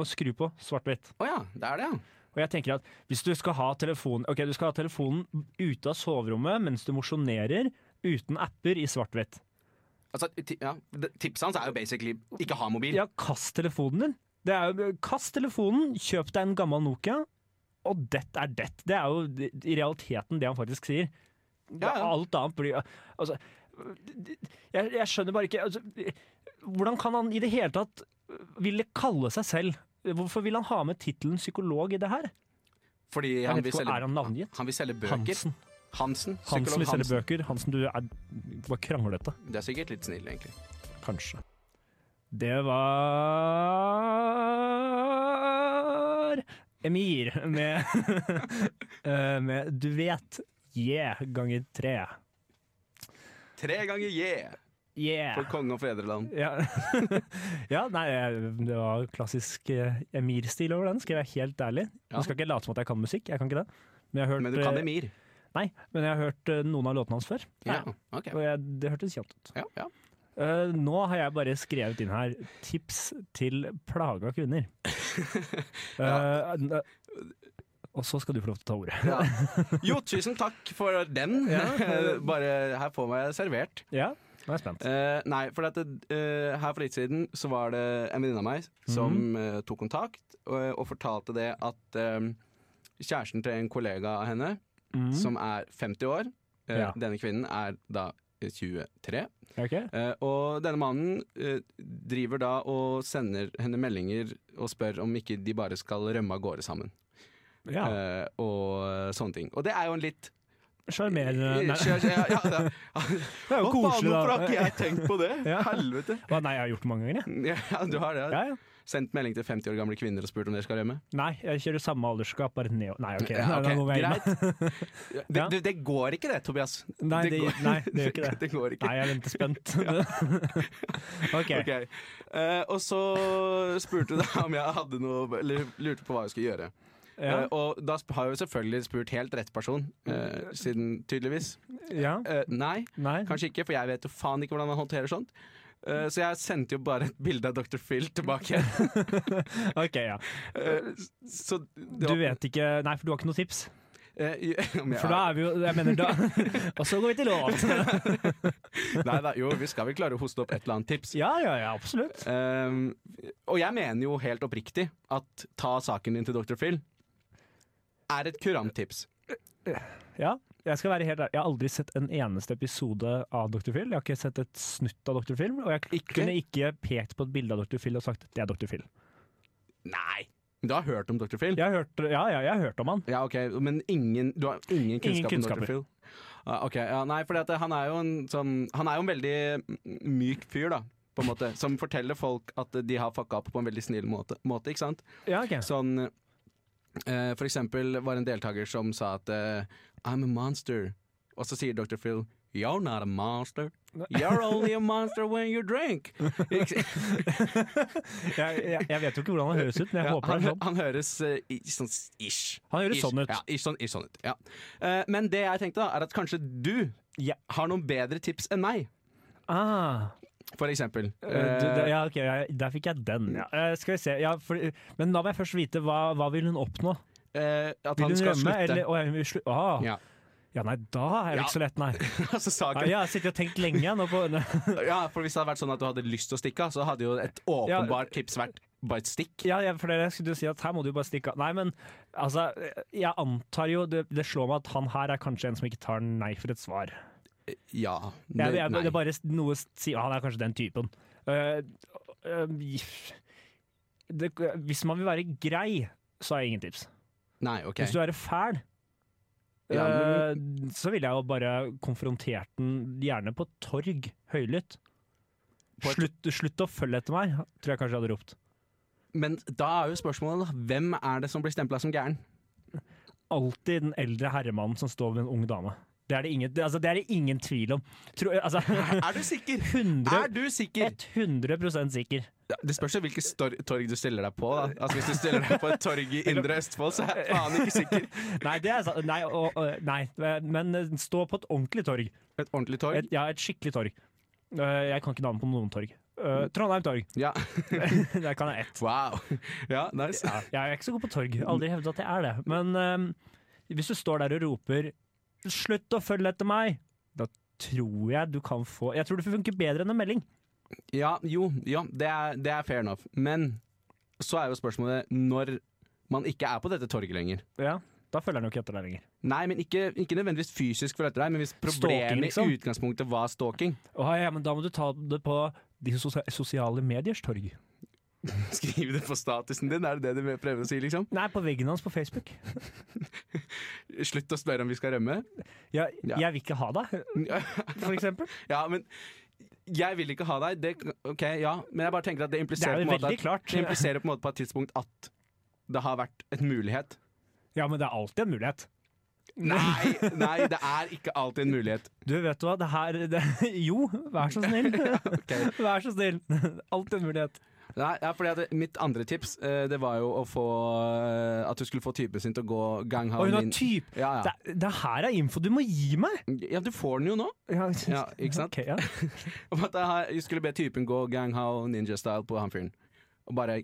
B: Og skru på svart-hvitt.
E: Å ja, det er det, ja.
B: Og jeg tenker at hvis du skal ha telefonen Ok, du skal ha telefonen ute av soverommet mens du mosjonerer, uten apper i svart-hvitt.
E: Altså, ti- ja. det- Tipset hans er jo basically ikke ha mobil.
B: Ja, kast telefonen din. Det er jo, kast telefonen, kjøp deg en gammel Nokia, og det er det. Det er jo i realiteten det han faktisk sier.
E: Ja, ja.
B: Alt annet blir Altså, jeg, jeg skjønner bare ikke altså, Hvordan kan han i det hele tatt ville kalle seg selv Hvorfor vil han ha med tittelen psykolog i det her?
E: Fordi
B: Jeg
E: han
B: vet
E: vil
B: ikke,
E: selge
B: Er han navngitt?
E: Han vil selge bøker.
B: Hansen.
E: Hansen.
B: Hansen
E: Psykolog
B: vil selge
E: Hansen.
B: bøker. Hansen, du er bare kranglete.
E: Det er sikkert litt snill, egentlig.
B: Kanskje. Det var Emir med, eh, med Du vet, yeah ganger tre.
E: Tre ganger yeah
B: Yeah.
E: for konge og fedreland.
B: Ja. ja, nei, eh, det var klassisk eh, Emir-stil over den, skal jeg være helt ærlig.
E: Ja.
B: Jeg skal ikke late som at jeg kan musikk, jeg kan ikke det. Men jeg har hørt,
E: Men du kan
B: eh,
E: Emir.
B: Nei, men jeg har hørt eh, noen av låtene hans før,
E: Ja, ok.
B: og jeg, det hørtes kjent ut.
E: Ja, ja.
B: Eh, nå har jeg bare skrevet inn her tips til plaga kvinner. Eh, n- og så skal du få lov til å ta ordet.
E: Ja. Jo, tusen takk for den.
B: Ja.
E: Bare her får meg servert.
B: Ja, nå er jeg spent.
E: Eh, nei, for at det, eh, her for litt siden så var det en venninne av meg som
B: Mhm.
E: eh, tok kontakt og, og fortalte det at eh, kjæresten til en kollega av henne,
B: Mm.
E: Eh, som er 50 år eh,
B: Ja.
E: Denne kvinnen er da 23.
B: Ok.
E: Eh, og denne mannen eh, driver da og sender henne meldinger og spør om ikke de bare skal rømme av gårde sammen.
B: Ja,
E: eh, og eh, sånne ting. Og det er jo en litt eh,
B: Sjarmerende Nei,
E: Ja, ja, ja, det er-
B: det er jo
E: Å, faen,
B: koselig,
E: hvorfor har
B: da.
E: ikke jeg tenkt på det?
B: Ja.
E: Helvete.
B: Å, nei, jeg har gjort det mange ganger, jeg.
E: Ja, du har det.
B: Ja, ja.
E: Sendt melding til 50 år gamle kvinner og spurt om dere skal rømme.
B: Nei, jeg kjører samme aldersskap, bare ned og Nei, OK.
E: Ja,
B: Nei,
E: ok,
B: da må vi
E: Greit.
B: hjem.
E: Det,
B: Ja.
E: det, det går ikke det, Tobias.
B: Nei, det-
E: går-
B: nei, det gjør ikke det.
E: det går ikke.
B: Nei, jeg venter spent. OK.
E: Ok. Eh, og så spurte hun da om jeg hadde noe Eller lurte på hva jeg skulle gjøre.
B: Ja,
E: Eh, og da sp- har jeg jo selvfølgelig spurt helt rett person, eh, siden tydeligvis.
B: ja,
E: Eh, nei,
B: nei.
E: kanskje ikke, for jeg vet jo faen ikke hvordan man håndterer sånt. Eh, så jeg sendte jo bare et bilde av Dr. Phil tilbake.
B: OK, ja.
E: Eh, så det
B: Du
E: var-
B: vet ikke Nei, for du har ikke noe tips?
E: Eh, om jeg
B: For da er vi jo Jeg mener, da Og så går vi til låt.
E: Nei da, jo, vi skal vel klare å hoste opp et eller annet tips.
B: Ja, ja, ja, absolutt.
E: Ehm, og jeg mener jo helt oppriktig at ta saken din til Dr. Phil er et kurant tips.
B: Ja, jeg skal være helt ærlig. Jeg har aldri sett en eneste episode av Dr. Phil. Jeg har ikke sett et snutt av Dr. Phil, og jeg
E: Ikke?
B: kunne ikke pekt på et bilde av Dr. Phil og sagt det er Dr. Phil.
E: Nei! Du har hørt om Dr. Phil?
B: Jeg har hørt, ja, ja, jeg har hørt om han.
E: Ja, ok, Men ingen, du har ingen kunnskap om
B: kunnskaper.
E: Dr. Phil? Ja, ok, ja, Nei, for han er jo en sånn Han er jo en veldig m- myk fyr, da. På en måte, som forteller folk at de har fucka opp på en veldig snill måte, måte ikke sant?
B: Ja, ok.
E: Sånn Eh, for eksempel var det en deltaker som sa at eh, I'm a monster. Og så sier Dr. Phil You're not a monster. You're only a monster when you drink. Ikke-
B: Jeg, jeg, jeg vet jo ikke hvordan han høres ut, men jeg
E: Ja,
B: håper
E: han,
B: det er
E: hø-
B: sånn.
E: han høres eh, i- sånn s- ish.
B: Han høres
E: Ish.
B: sånn ut.
E: Ja, ish, sånn, ish, sånn ut. Ja. Eh, men det jeg tenkte, da, er at kanskje du
B: Ja.
E: har noen bedre tips enn meg,
B: Ah.
E: for eksempel.
B: Eh, du- det-
E: Eh,
B: ja, ok, jeg- der fikk jeg den. Ja. Eh, skal vi se. Ja, for, men da må jeg først vite hva, hva vil hun oppnå?
E: eh, at
B: Vil hun
E: han skal
B: rømme?
E: slutte.
B: Eller, å, jeg vil slu ah. ja.
E: Ja.
B: nei, da er det ikke så lett, nei.
E: altså,
B: Nei,
E: saken,
B: jeg har sittet og tenkt lenge jeg, nå på
E: ja, for hvis det hadde vært sånn at du hadde lyst til å stikke av, så hadde jo et åpenbart tips vært bare et stikk.
B: Ja, jeg, for dere skulle jo si at her må du bare stikke av. Nei, men altså, jeg antar jo det, det slår meg at han her er kanskje en som ikke tar nei for et svar.
E: Ja.
B: Jeg, jeg,
E: nei.
B: det er bare noe s- si, Han er kanskje den typen. Eh, eh, det, hvis man vil være grei, så har jeg ingen tips.
E: nei, ok.
B: Hvis du er fæl,
E: Ja,
B: eh, så ville jeg jo bare konfrontert den, gjerne på torg, høylytt.
E: På et-
B: Slutt, slutt å følge etter meg, tror jeg kanskje jeg hadde ropt.
E: Men da er jo spørsmålet, da, hvem er det som blir stempla som gæren?
B: alltid den eldre herremannen som står ved en ung dame. Det er det ingen, det, altså, det er det ingen tvil om. Tro, altså,
E: Er du sikker?
B: 100,
E: Er du sikker?
B: 100 sikker.
E: Ja, Det spørs jo hvilket stor- torg du stiller deg på. da Altså Hvis du stiller deg på et torg i Indre Østfold, så er jeg faen ikke sikker.
B: Nei, det er, sa- nei, og, og, nei, men eh, stå på et ordentlig torg.
E: Et ordentlig torg?
B: Et, ja, et skikkelig torg. Øh, Jeg kan ikke navnet på noen torg. Øh, Trondheim torg.
E: Ja.
B: Der kan jeg ett.
E: Wow. Ja, nice.
B: Jeg er ikke så god på torg. Aldri hevdet at jeg er det. Men øhm, hvis du står der og roper 'slutt å følge etter meg', da tror jeg du kan få Jeg tror det funker bedre enn en melding.
E: Ja, jo, ja, det er, det er fair enough. Men så er jo spørsmålet når man ikke er på dette torget lenger.
B: Ja, Da følger den jo ikke etter deg lenger.
E: Nei, men ikke, ikke nødvendigvis fysisk for etter deg, men hvis
B: Stalking,
E: problemet
B: liksom.
E: i utgangspunktet var stalking
B: Å, ja, men da må du ta det på de sosia- sosiale mediers torg.
E: Skriv det på statusen din, er det det du prøver å si, liksom?
B: Nei, på veggen hans på Facebook.
E: Slutt å spørre om vi skal rømme.
B: Jeg,
E: Ja.
B: jeg vil ikke ha deg, for eksempel.
E: Ja, men jeg vil ikke ha deg. Det, ok, ja, Men jeg bare tenker at det
B: Det
E: impliserer,
B: er jo
E: på en måte
B: veldig
E: at,
B: klart.
E: det impliserer på en måte på et tidspunkt at det har vært et mulighet.
B: Ja, men det er alltid en mulighet.
E: Nei, nei, det er ikke alltid en mulighet.
B: Du, vet du hva, det her det, Jo, vær så snill. Vær så snill. Alltid en mulighet.
E: Nei, ja, fordi at det- Mitt andre tips eh, Det var jo å få eh, at du skulle få typen sin til å gå ganghound
B: Og hun har
E: inn.
B: type!
E: Ja, ja.
B: Det, det her er info du må gi meg!
E: ja, du får den jo nå. Ja, ikke sant?
B: Ok, ja.
E: Om at jeg har- jeg skulle be typen gå ganghao ninja-style på han fyren. Og bare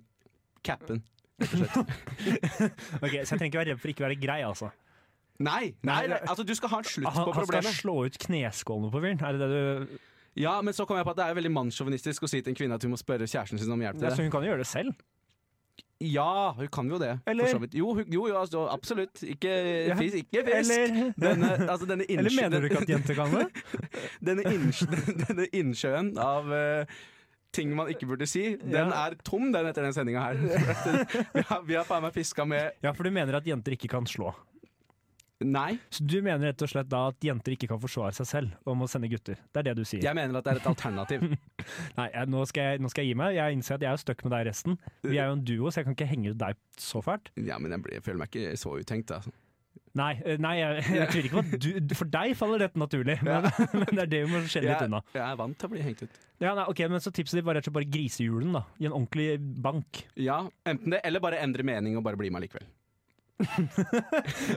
E: cappe den.
B: Ok, så jeg trenger ikke være redd for ikke å være grei, altså.
E: Nei, nei,
B: Nei,
E: nei!
B: det-
E: Altså, du skal ha en slutt
B: Han,
E: på
B: han skal
E: problemet.
B: slå ut kneskålene på fyren? Er det det du
E: Ja, men så kom jeg på at det er veldig mannssjåvinistisk å si til en kvinne at hun må spørre kjæresten sin om hjelp til
B: Ja, Så
E: det.
B: hun kan jo gjøre det selv?
E: Ja, hun kan jo det.
B: Eller-
E: For så vidt. Jo, hun- jo, jo altså, absolutt. Ikke
B: Ja.
E: fisk. Ikke fisk.
B: Eller-
E: denne, altså, denne, innsj-
B: Eller mener du ikke at jenter kan det?
E: denne, innsj- denne innsjøen av eh, ting man ikke burde si, den
B: Ja.
E: er tom den etter den sendinga her. vi har, vi har faen meg fiska med
B: Ja, for du mener at jenter ikke kan slå.
E: Nei,
B: Så du mener rett og slett da at jenter ikke kan forsvare seg selv og må sende gutter? Det er det du sier?
E: jeg mener at det er et alternativ.
B: Nei, jeg, nå, skal jeg, nå skal jeg gi meg. Jeg innser at jeg er jo stuck med deg resten. Vi er jo en duo, så jeg kan ikke henge ut deg så fælt.
E: Ja, men jeg, blir, jeg føler meg ikke så uttenkt, altså.
B: Nei, eh, nei jeg, jeg tviler ikke på at du For deg faller dette naturlig, men, men det er det vi må skjelle litt
E: Jeg,
B: unna.
E: jeg er vant til å bli hengt ut.
B: Ja, nei, ok, men Så tipset ditt var rett og slett bare grisehjulen, da. I en ordentlig bank.
E: Ja, enten det, eller bare endre mening og bare bli med likevel.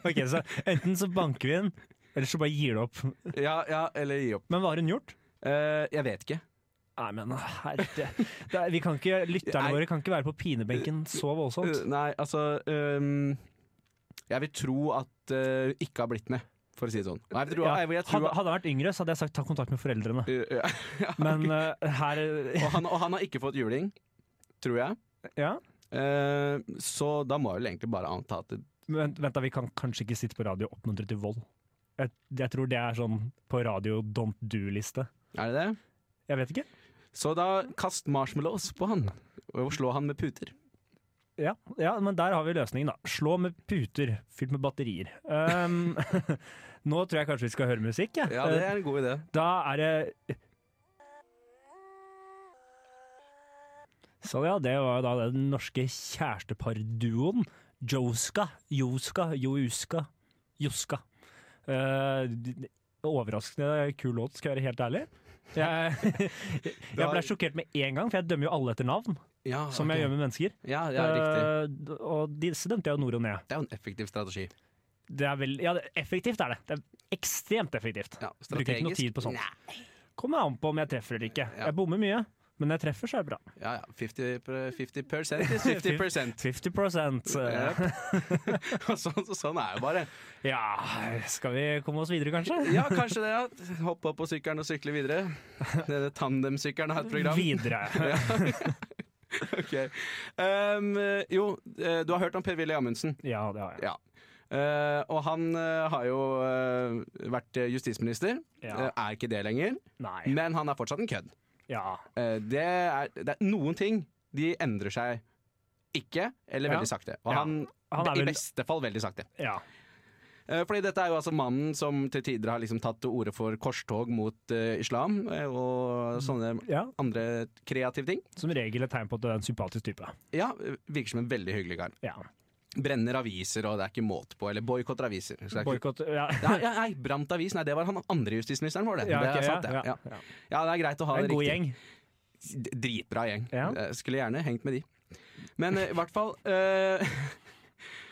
B: Ok, Så enten så banker vi den, eller så bare gir du opp.
E: Ja, ja, eller gi opp.
B: Men hva har hun gjort?
E: Eh, jeg vet ikke.
B: Nei, men herre det er, vi kan ikke, Lytterne
E: Nei.
B: våre kan ikke være på pinebenken så voldsomt.
E: Uh, Nei, altså øhm, Jeg vil tro at uh, ikke har blitt med, for å si det sånn. Nei, jeg vil tro,
B: Ja,
E: jeg, jeg tror
B: hadde, hadde jeg vært yngre, så hadde jeg sagt ta kontakt med foreldrene.
E: Uh, ja.
B: Men eh, her
E: og, han, og han har ikke fått juling, tror jeg.
B: Ja.
E: Eh, så da må jeg vel egentlig bare anta at det,
B: Men, vent, da, vi kan kanskje ikke sitte på radio og oppmuntre til vold. Jeg, jeg tror det er sånn på radio don't do-liste.
E: Er det det?
B: Jeg vet ikke.
E: Så da kast marshmallows på han, og slå han med puter.
B: Ja, ja, men der har vi løsningen, da. Slå med puter fylt med batterier. Um, nå tror jeg kanskje vi skal høre musikk, jeg.
E: Ja, det er en god idé.
B: Da er det Sånn, Så ja, det var jo da den norske kjæresteparduoen Joska, Joska, Jouska, Joska. Eh, overraskende kul låt, skal jeg være helt ærlig. Jeg, jeg ble sjokkert med en gang, for jeg dømmer jo alle etter navn.
E: Ja,
B: Som
E: ok.
B: jeg gjør med mennesker.
E: Ja, ja, riktig.
B: Eh, og disse dømte jeg jo nord og ned.
E: Det er jo en effektiv strategi.
B: Det er vel, ja, det- effektivt er det. Det er ekstremt effektivt.
E: Ja,
B: Bruker ikke noe
E: strategisk.
B: tid på sånt. Kommer an på om jeg treffer eller ikke. Jeg bommer mye, men når jeg treffer, så er det bra.
E: Ja, ja. 50, pr- 50 is 50
B: 50 eh,
E: Yep. Og sånn, sånn er det bare.
B: Ja, skal vi komme oss videre, kanskje?
E: Ja, kanskje det. Ja. Hoppe opp på sykkelen og sykle videre. Denne tandemsykkelen har et program.
B: Videre.
E: Ok. Um, jo, eh, du har hørt om Per-Willy Amundsen.
B: Ja, det har jeg.
E: Ja. Eh, og han eh, har jo eh, vært eh, justisminister.
B: Ja.
E: Eh, er ikke det lenger.
B: Nei.
E: Men han er fortsatt en kødd.
B: Ja.
E: Eh, det, er, det er noen ting de endrer seg ikke, eller
B: Ja.
E: veldig sakte. Og
B: Ja.
E: han,
B: Han er
E: i
B: vel-
E: beste fall veldig sakte.
B: ja.
E: Eh, Fordi dette er jo altså mannen som til tider har liksom tatt til orde for korstog mot eh, islam eh,
B: Mm.
E: og sånne
B: ja.
E: andre kreative ting.
B: Som regel et tegn på at du er en sympatisk type.
E: Ja, eh, Virker som en veldig hyggelig kar.
B: Ja.
E: Brenner aviser, og det er ikke måte på. Eller boikotter aviser. Skal jeg ikke-
B: Boikott ja.
E: Nei, nei, nei, brant avis. Nei, det var han andre justisministeren vår, det.
B: Ja, ok,
E: det er sant,
B: ja,
E: det.
B: ja,
E: Ja, ja. det er greit å ha
B: Det er
E: det,
B: en god
E: riktig.
B: gjeng.
E: D- Dritbra gjeng.
B: Ja.
E: Eh, Skulle gjerne hengt med de. Men eh, i hvert fall eh,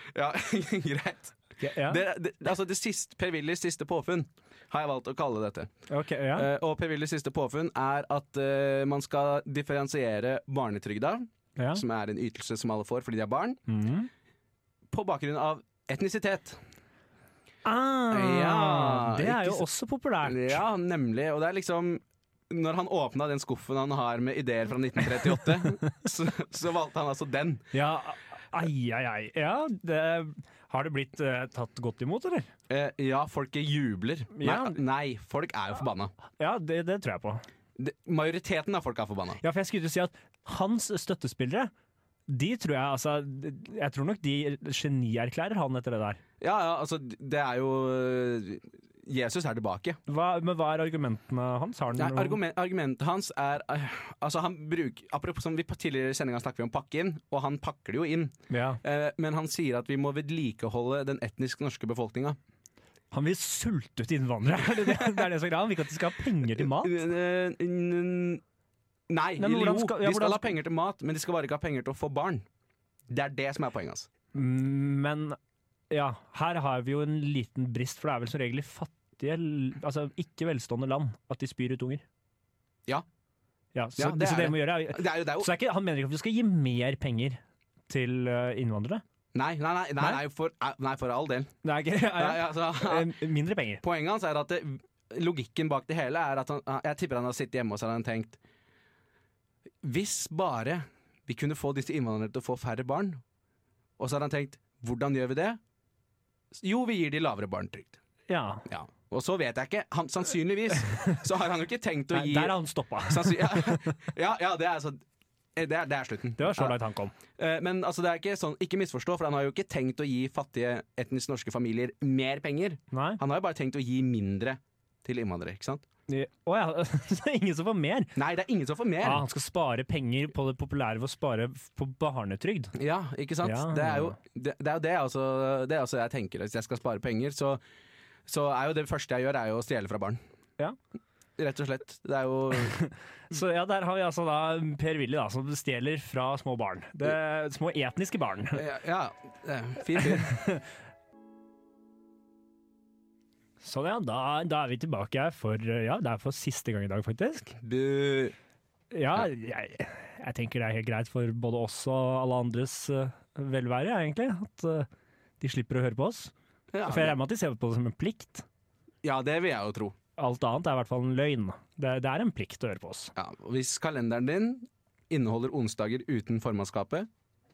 E: Ja, greit.
B: Ja.
E: Det, det, altså det siste, Per Willys siste påfunn har jeg valgt å kalle dette.
B: Ok, ja.
E: Eh, og Per Willys siste påfunn er at eh, man skal differensiere barnetrygda,
B: ja.
E: som er en ytelse som alle får fordi de er barn,
B: Mhm.
E: på bakgrunn av etnisitet.
B: Ah,
E: Ja,
B: det er jo
E: ikke
B: også populært.
E: Ja, nemlig. Og det er liksom Når han åpna den skuffen han har med ideer fra 1938, så, så valgte han altså den.
B: Ja, ai, ai, ai. Ja, det, har det blitt eh, tatt godt imot, eller?
E: Eh, ja, folket jubler. Nei,
B: Ja.
E: nei, folk er jo forbanna.
B: Ja, det, det tror jeg på.
E: Det- Majoriteten av folk er forbanna.
B: Ja, for jeg skulle til å si at hans støttespillere, de tror jeg altså Jeg tror nok de genierklærer han etter det der.
E: Ja, ja, altså, det er jo eh, Jesus er tilbake.
B: Hva, men hva er argumentene hans? Har han
E: Nei,
B: noen-
E: argument, argumentet hans er eh, Altså, han bruker Apropos som vi på tidligere sendinga snakket vi om pakke inn, og han pakker det jo inn.
B: ja.
E: Eh, men han sier at vi må vedlikeholde den etnisk norske befolkninga.
B: Han vil sulte ut innvandrere, er det det, det er det som er greia? Han vil ikke at de skal ha penger til mat?
E: Eh, n- Nei,
B: Nei, men
E: eller
B: hvordan
E: jo,
B: skal- ja,
E: de skal
B: hvordan
E: ha
B: skal-
E: penger til mat, men de skal bare ikke ha penger til å få barn. Det er det som er poenget altså. hans.
B: Men ja, her har vi jo en liten brist, for det er vel som regel i fattige, l- altså ikke velstående land, at de spyr ut unger.
E: Ja.
B: Ja, så,
E: Ja, det
B: det, så
E: er
B: det vi må gjøre er,
E: Det er jo, det
B: Så
E: er jo
B: det er ikke, han mener ikke at vi skal gi mer penger til eh, innvandrere?
E: nei, nei, nei, nei,
B: Nei?
E: nei, for, eh, nei, for all del.
B: Nei, ikke,
E: Nei, altså,
B: Eh, Mindre penger.
E: poenget hans er at det, logikken bak det hele er at han, Jeg tipper han har sittet hjemme og så har han tenkt Hvis bare vi kunne få disse innvandrerne til å få færre barn, og så har han tenkt Hvordan gjør vi det? Jo, vi gir de lavere barnetrygd.
B: Ja.
E: Ja. Og så vet jeg ikke. Han, sannsynligvis så har han jo ikke tenkt å
B: Nei,
E: gi
B: der har han stoppa.
E: Sannsyn- ja, ja, ja, det er altså det er, det er slutten.
B: Det var så langt han kom.
E: Eh, Men altså, det er ikke sånn, ikke misforstå, for han har jo ikke tenkt å gi fattige etnisk norske familier mer penger.
B: Nei.
E: Han har jo bare tenkt å gi mindre til innvandrere, ikke sant?
B: Å ja, så det er ingen som får mer.
E: Nei, det er ingen som får mer!
B: Ja, han skal spare penger på det populære ved å spare f- på barnetrygd.
E: Ja, ikke sant?
B: Ja.
E: Det er jo det, det, er jo det, altså, det er altså jeg tenker. Hvis jeg skal spare penger, så, så er jo det første jeg gjør, er jo å stjele fra barn.
B: Ja.
E: Rett og slett. Det er jo
B: Så ja, der har vi altså da Per Willy da, som stjeler fra små barn. Det, små etniske barn.
E: Ja, ja det er fin fyr.
B: Sånn ja, da, da er vi tilbake her for ja, det er for siste gang i dag, faktisk.
E: Bu.
B: Ja, jeg, jeg tenker det er helt greit for både oss og alle andres eh, velvære, ja, egentlig. At eh, de slipper å høre på oss.
E: Ja,
B: For jeg regner med at de ser på det som en plikt.
E: ja, det vil jeg jo tro.
B: Alt annet er i hvert fall en løgn. Det, det er en plikt å høre på oss.
E: Ja, og hvis kalenderen din inneholder onsdager uten formannskapet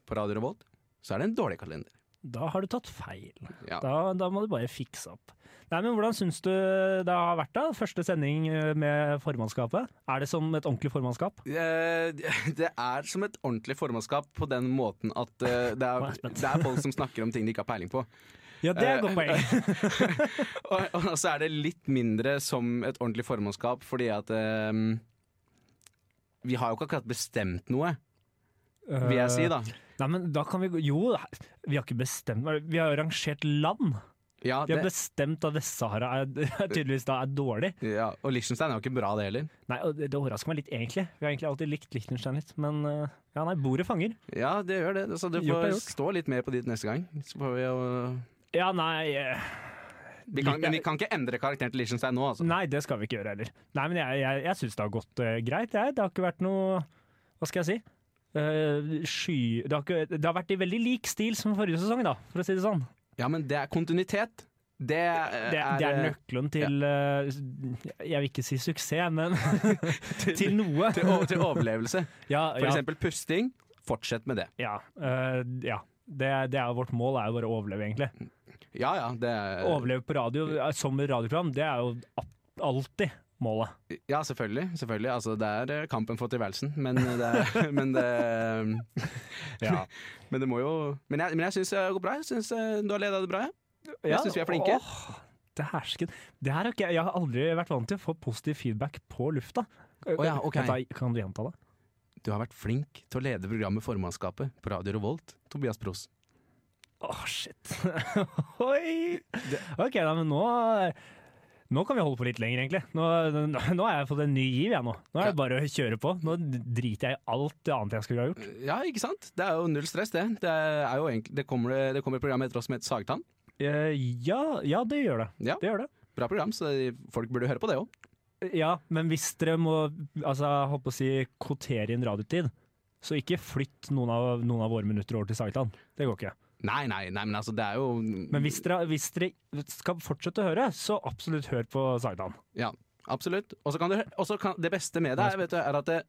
E: på Radio Revolt, så er det en dårlig kalender.
B: Da har du tatt feil.
E: Ja.
B: Da, da må du bare fikse opp. Nei, men Hvordan syns du det har vært, da? Første sending eh, med formannskapet. Er det som et ordentlig formannskap?
E: Eh, Det er som et ordentlig formannskap på den måten at eh, det
B: Nå er
E: er,
B: jeg spent.
E: det er folk som snakker om ting de ikke har peiling på.
B: Ja, det er et godt poeng.
E: Og, og så er det litt mindre som et ordentlig formannskap fordi at ehm, eh, vi har jo ikke akkurat bestemt noe, vil jeg si da.
B: Nei, men da kan vi gå Jo, vi har ikke bestemt Vi har jo rangert land.
E: Ja,
B: Vi har
E: det,
B: bestemt at Vest-Sahara er, er tydeligvis da er dårlig.
E: ja, og Liechtenstein er jo ikke bra, det heller.
B: Nei, og Det det overrasker meg litt, egentlig. Vi har egentlig alltid likt Liechtenstein litt. Men eh, ja, nei, bordet fanger.
E: Ja, det gjør det. Så du
B: Gjort er
E: får
B: gjort.
E: stå litt mer på dit neste gang. Så får vi jo
B: Ja, nei eh,
E: vi kan, Men vi kan ikke endre karakteren til Liechtenstein nå, altså.
B: Nei, det skal vi ikke gjøre heller. Nei, men jeg, jeg, jeg syns det har gått eh, greit. Jeg. Det har ikke vært noe Hva skal jeg si? Eh, sky det har, ikke, det har vært i veldig lik stil som forrige sesong, da, for å si det sånn.
E: Ja, men det er kontinuitet. Det eh, er,
B: Det, det er nøkkelen til eh, Jeg vil ikke si suksess, men til noe.
E: eh, til, o- til overlevelse.
B: Ja,
E: For
B: ja,
E: eksempel pusting. Fortsett med det.
B: ja, eh, ja. Det, det er vårt mål, er jo bare å overleve, egentlig.
E: Ja ja, det er
B: Overleve på radio eh, som radioprogram, det er jo a- alltid målet.
E: Ja, selvfølgelig. selvfølgelig. Altså, det er eh, kampen for tilværelsen, men eh, det, er, men det
B: Ja.
E: Men det må jo Men jeg, men jeg syns det går bra. Jeg syns eh, du har leda det bra. Jeg, jeg
B: Ja,
E: syns vi er flinke.
B: åh, det hersken. Det her har ikke jeg, jeg har aldri vært vant til å få positiv feedback på lufta.
E: Å ja, ok.
B: Kan ta- Kan du gjenta det?
E: Du har vært flink til å lede programmet Formannskapet på Radio Revolt, Tobias Pros.
B: Åh, shit. Oi! Ok, da, men nå Nå kan vi holde på litt lenger, egentlig. Nå, nå, nå har jeg fått en ny giv, jeg nå. Nå er det bare å kjøre på. Nå driter jeg i alt det annet jeg skulle ha gjort.
E: Ja, ikke sant? Det er jo null stress, det. Det, er jo egentlig, det, kommer, det kommer et program etter oss som heter Sagtann.
B: Eh, Ja, ja det gjør det.
E: Ja.
B: Det gjør det.
E: Bra program, så folk burde høre på det òg.
B: Ja, men hvis dere må altså, jeg holdt på å si, kvotere inn radiotid, så ikke flytt noen av, noen av våre minutter over til Sagtan. Det går ikke.
E: Nei, nei, nei, men altså, det er jo
B: Men hvis dere, hvis dere skal fortsette å høre, så absolutt hør på Sagdan.
E: Ja, absolutt. Og så kan dere og så kan, Det beste med det er, vet du, er at det,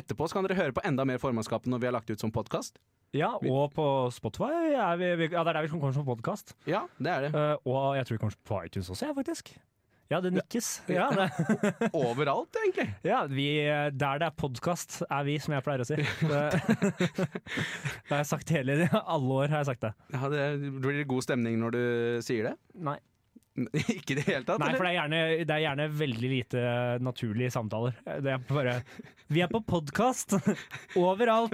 E: etterpå så kan dere høre på enda mer Formannskapet når vi har lagt ut som podkast.
B: Ja, og på Spotify. Er vi, vi, ja, det er der vi kommer som podkast.
E: Ja, det er det.
B: Eh, og jeg tror vi kommer på iTunes også, jeg, faktisk. Ja, det nikkes. Ja, det,
E: Overalt, egentlig.
B: ja vi, Der det er podkast, er vi, som jeg pleier å si. Det, det har jeg sagt hele alle år. har jeg sagt det.
E: Ja, det blir god stemning når du sier det.
B: Nei,
E: ikke i det hele tatt?
B: Nei for det er,
E: eller?
B: gjerne, det er gjerne veldig lite naturlige samtaler. Det er bare Vi er på podkast! Overalt!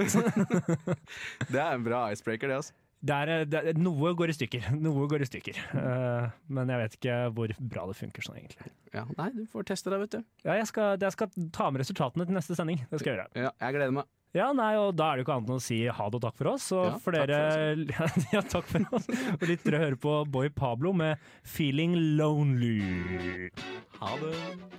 E: det er en bra icebreaker, det. altså.
B: det er, det er, noe går i stykker. Noe går i stykker. Eh, men jeg vet ikke hvor bra det funker sånn, egentlig.
E: Ja, nei, du får teste det, vet du.
B: Ja, jeg, skal, jeg skal ta med resultatene til neste sending. Det skal jeg gjøre.
E: Ja, jeg gleder meg.
B: Ja, nei, og Da er det jo ikke annet enn å si ha det og takk for oss. Og
E: Ja,
B: for dere Ja, takk for oss. Og litt dere hører på Boy Pablo med 'Feeling Lonely'.
E: Ha det.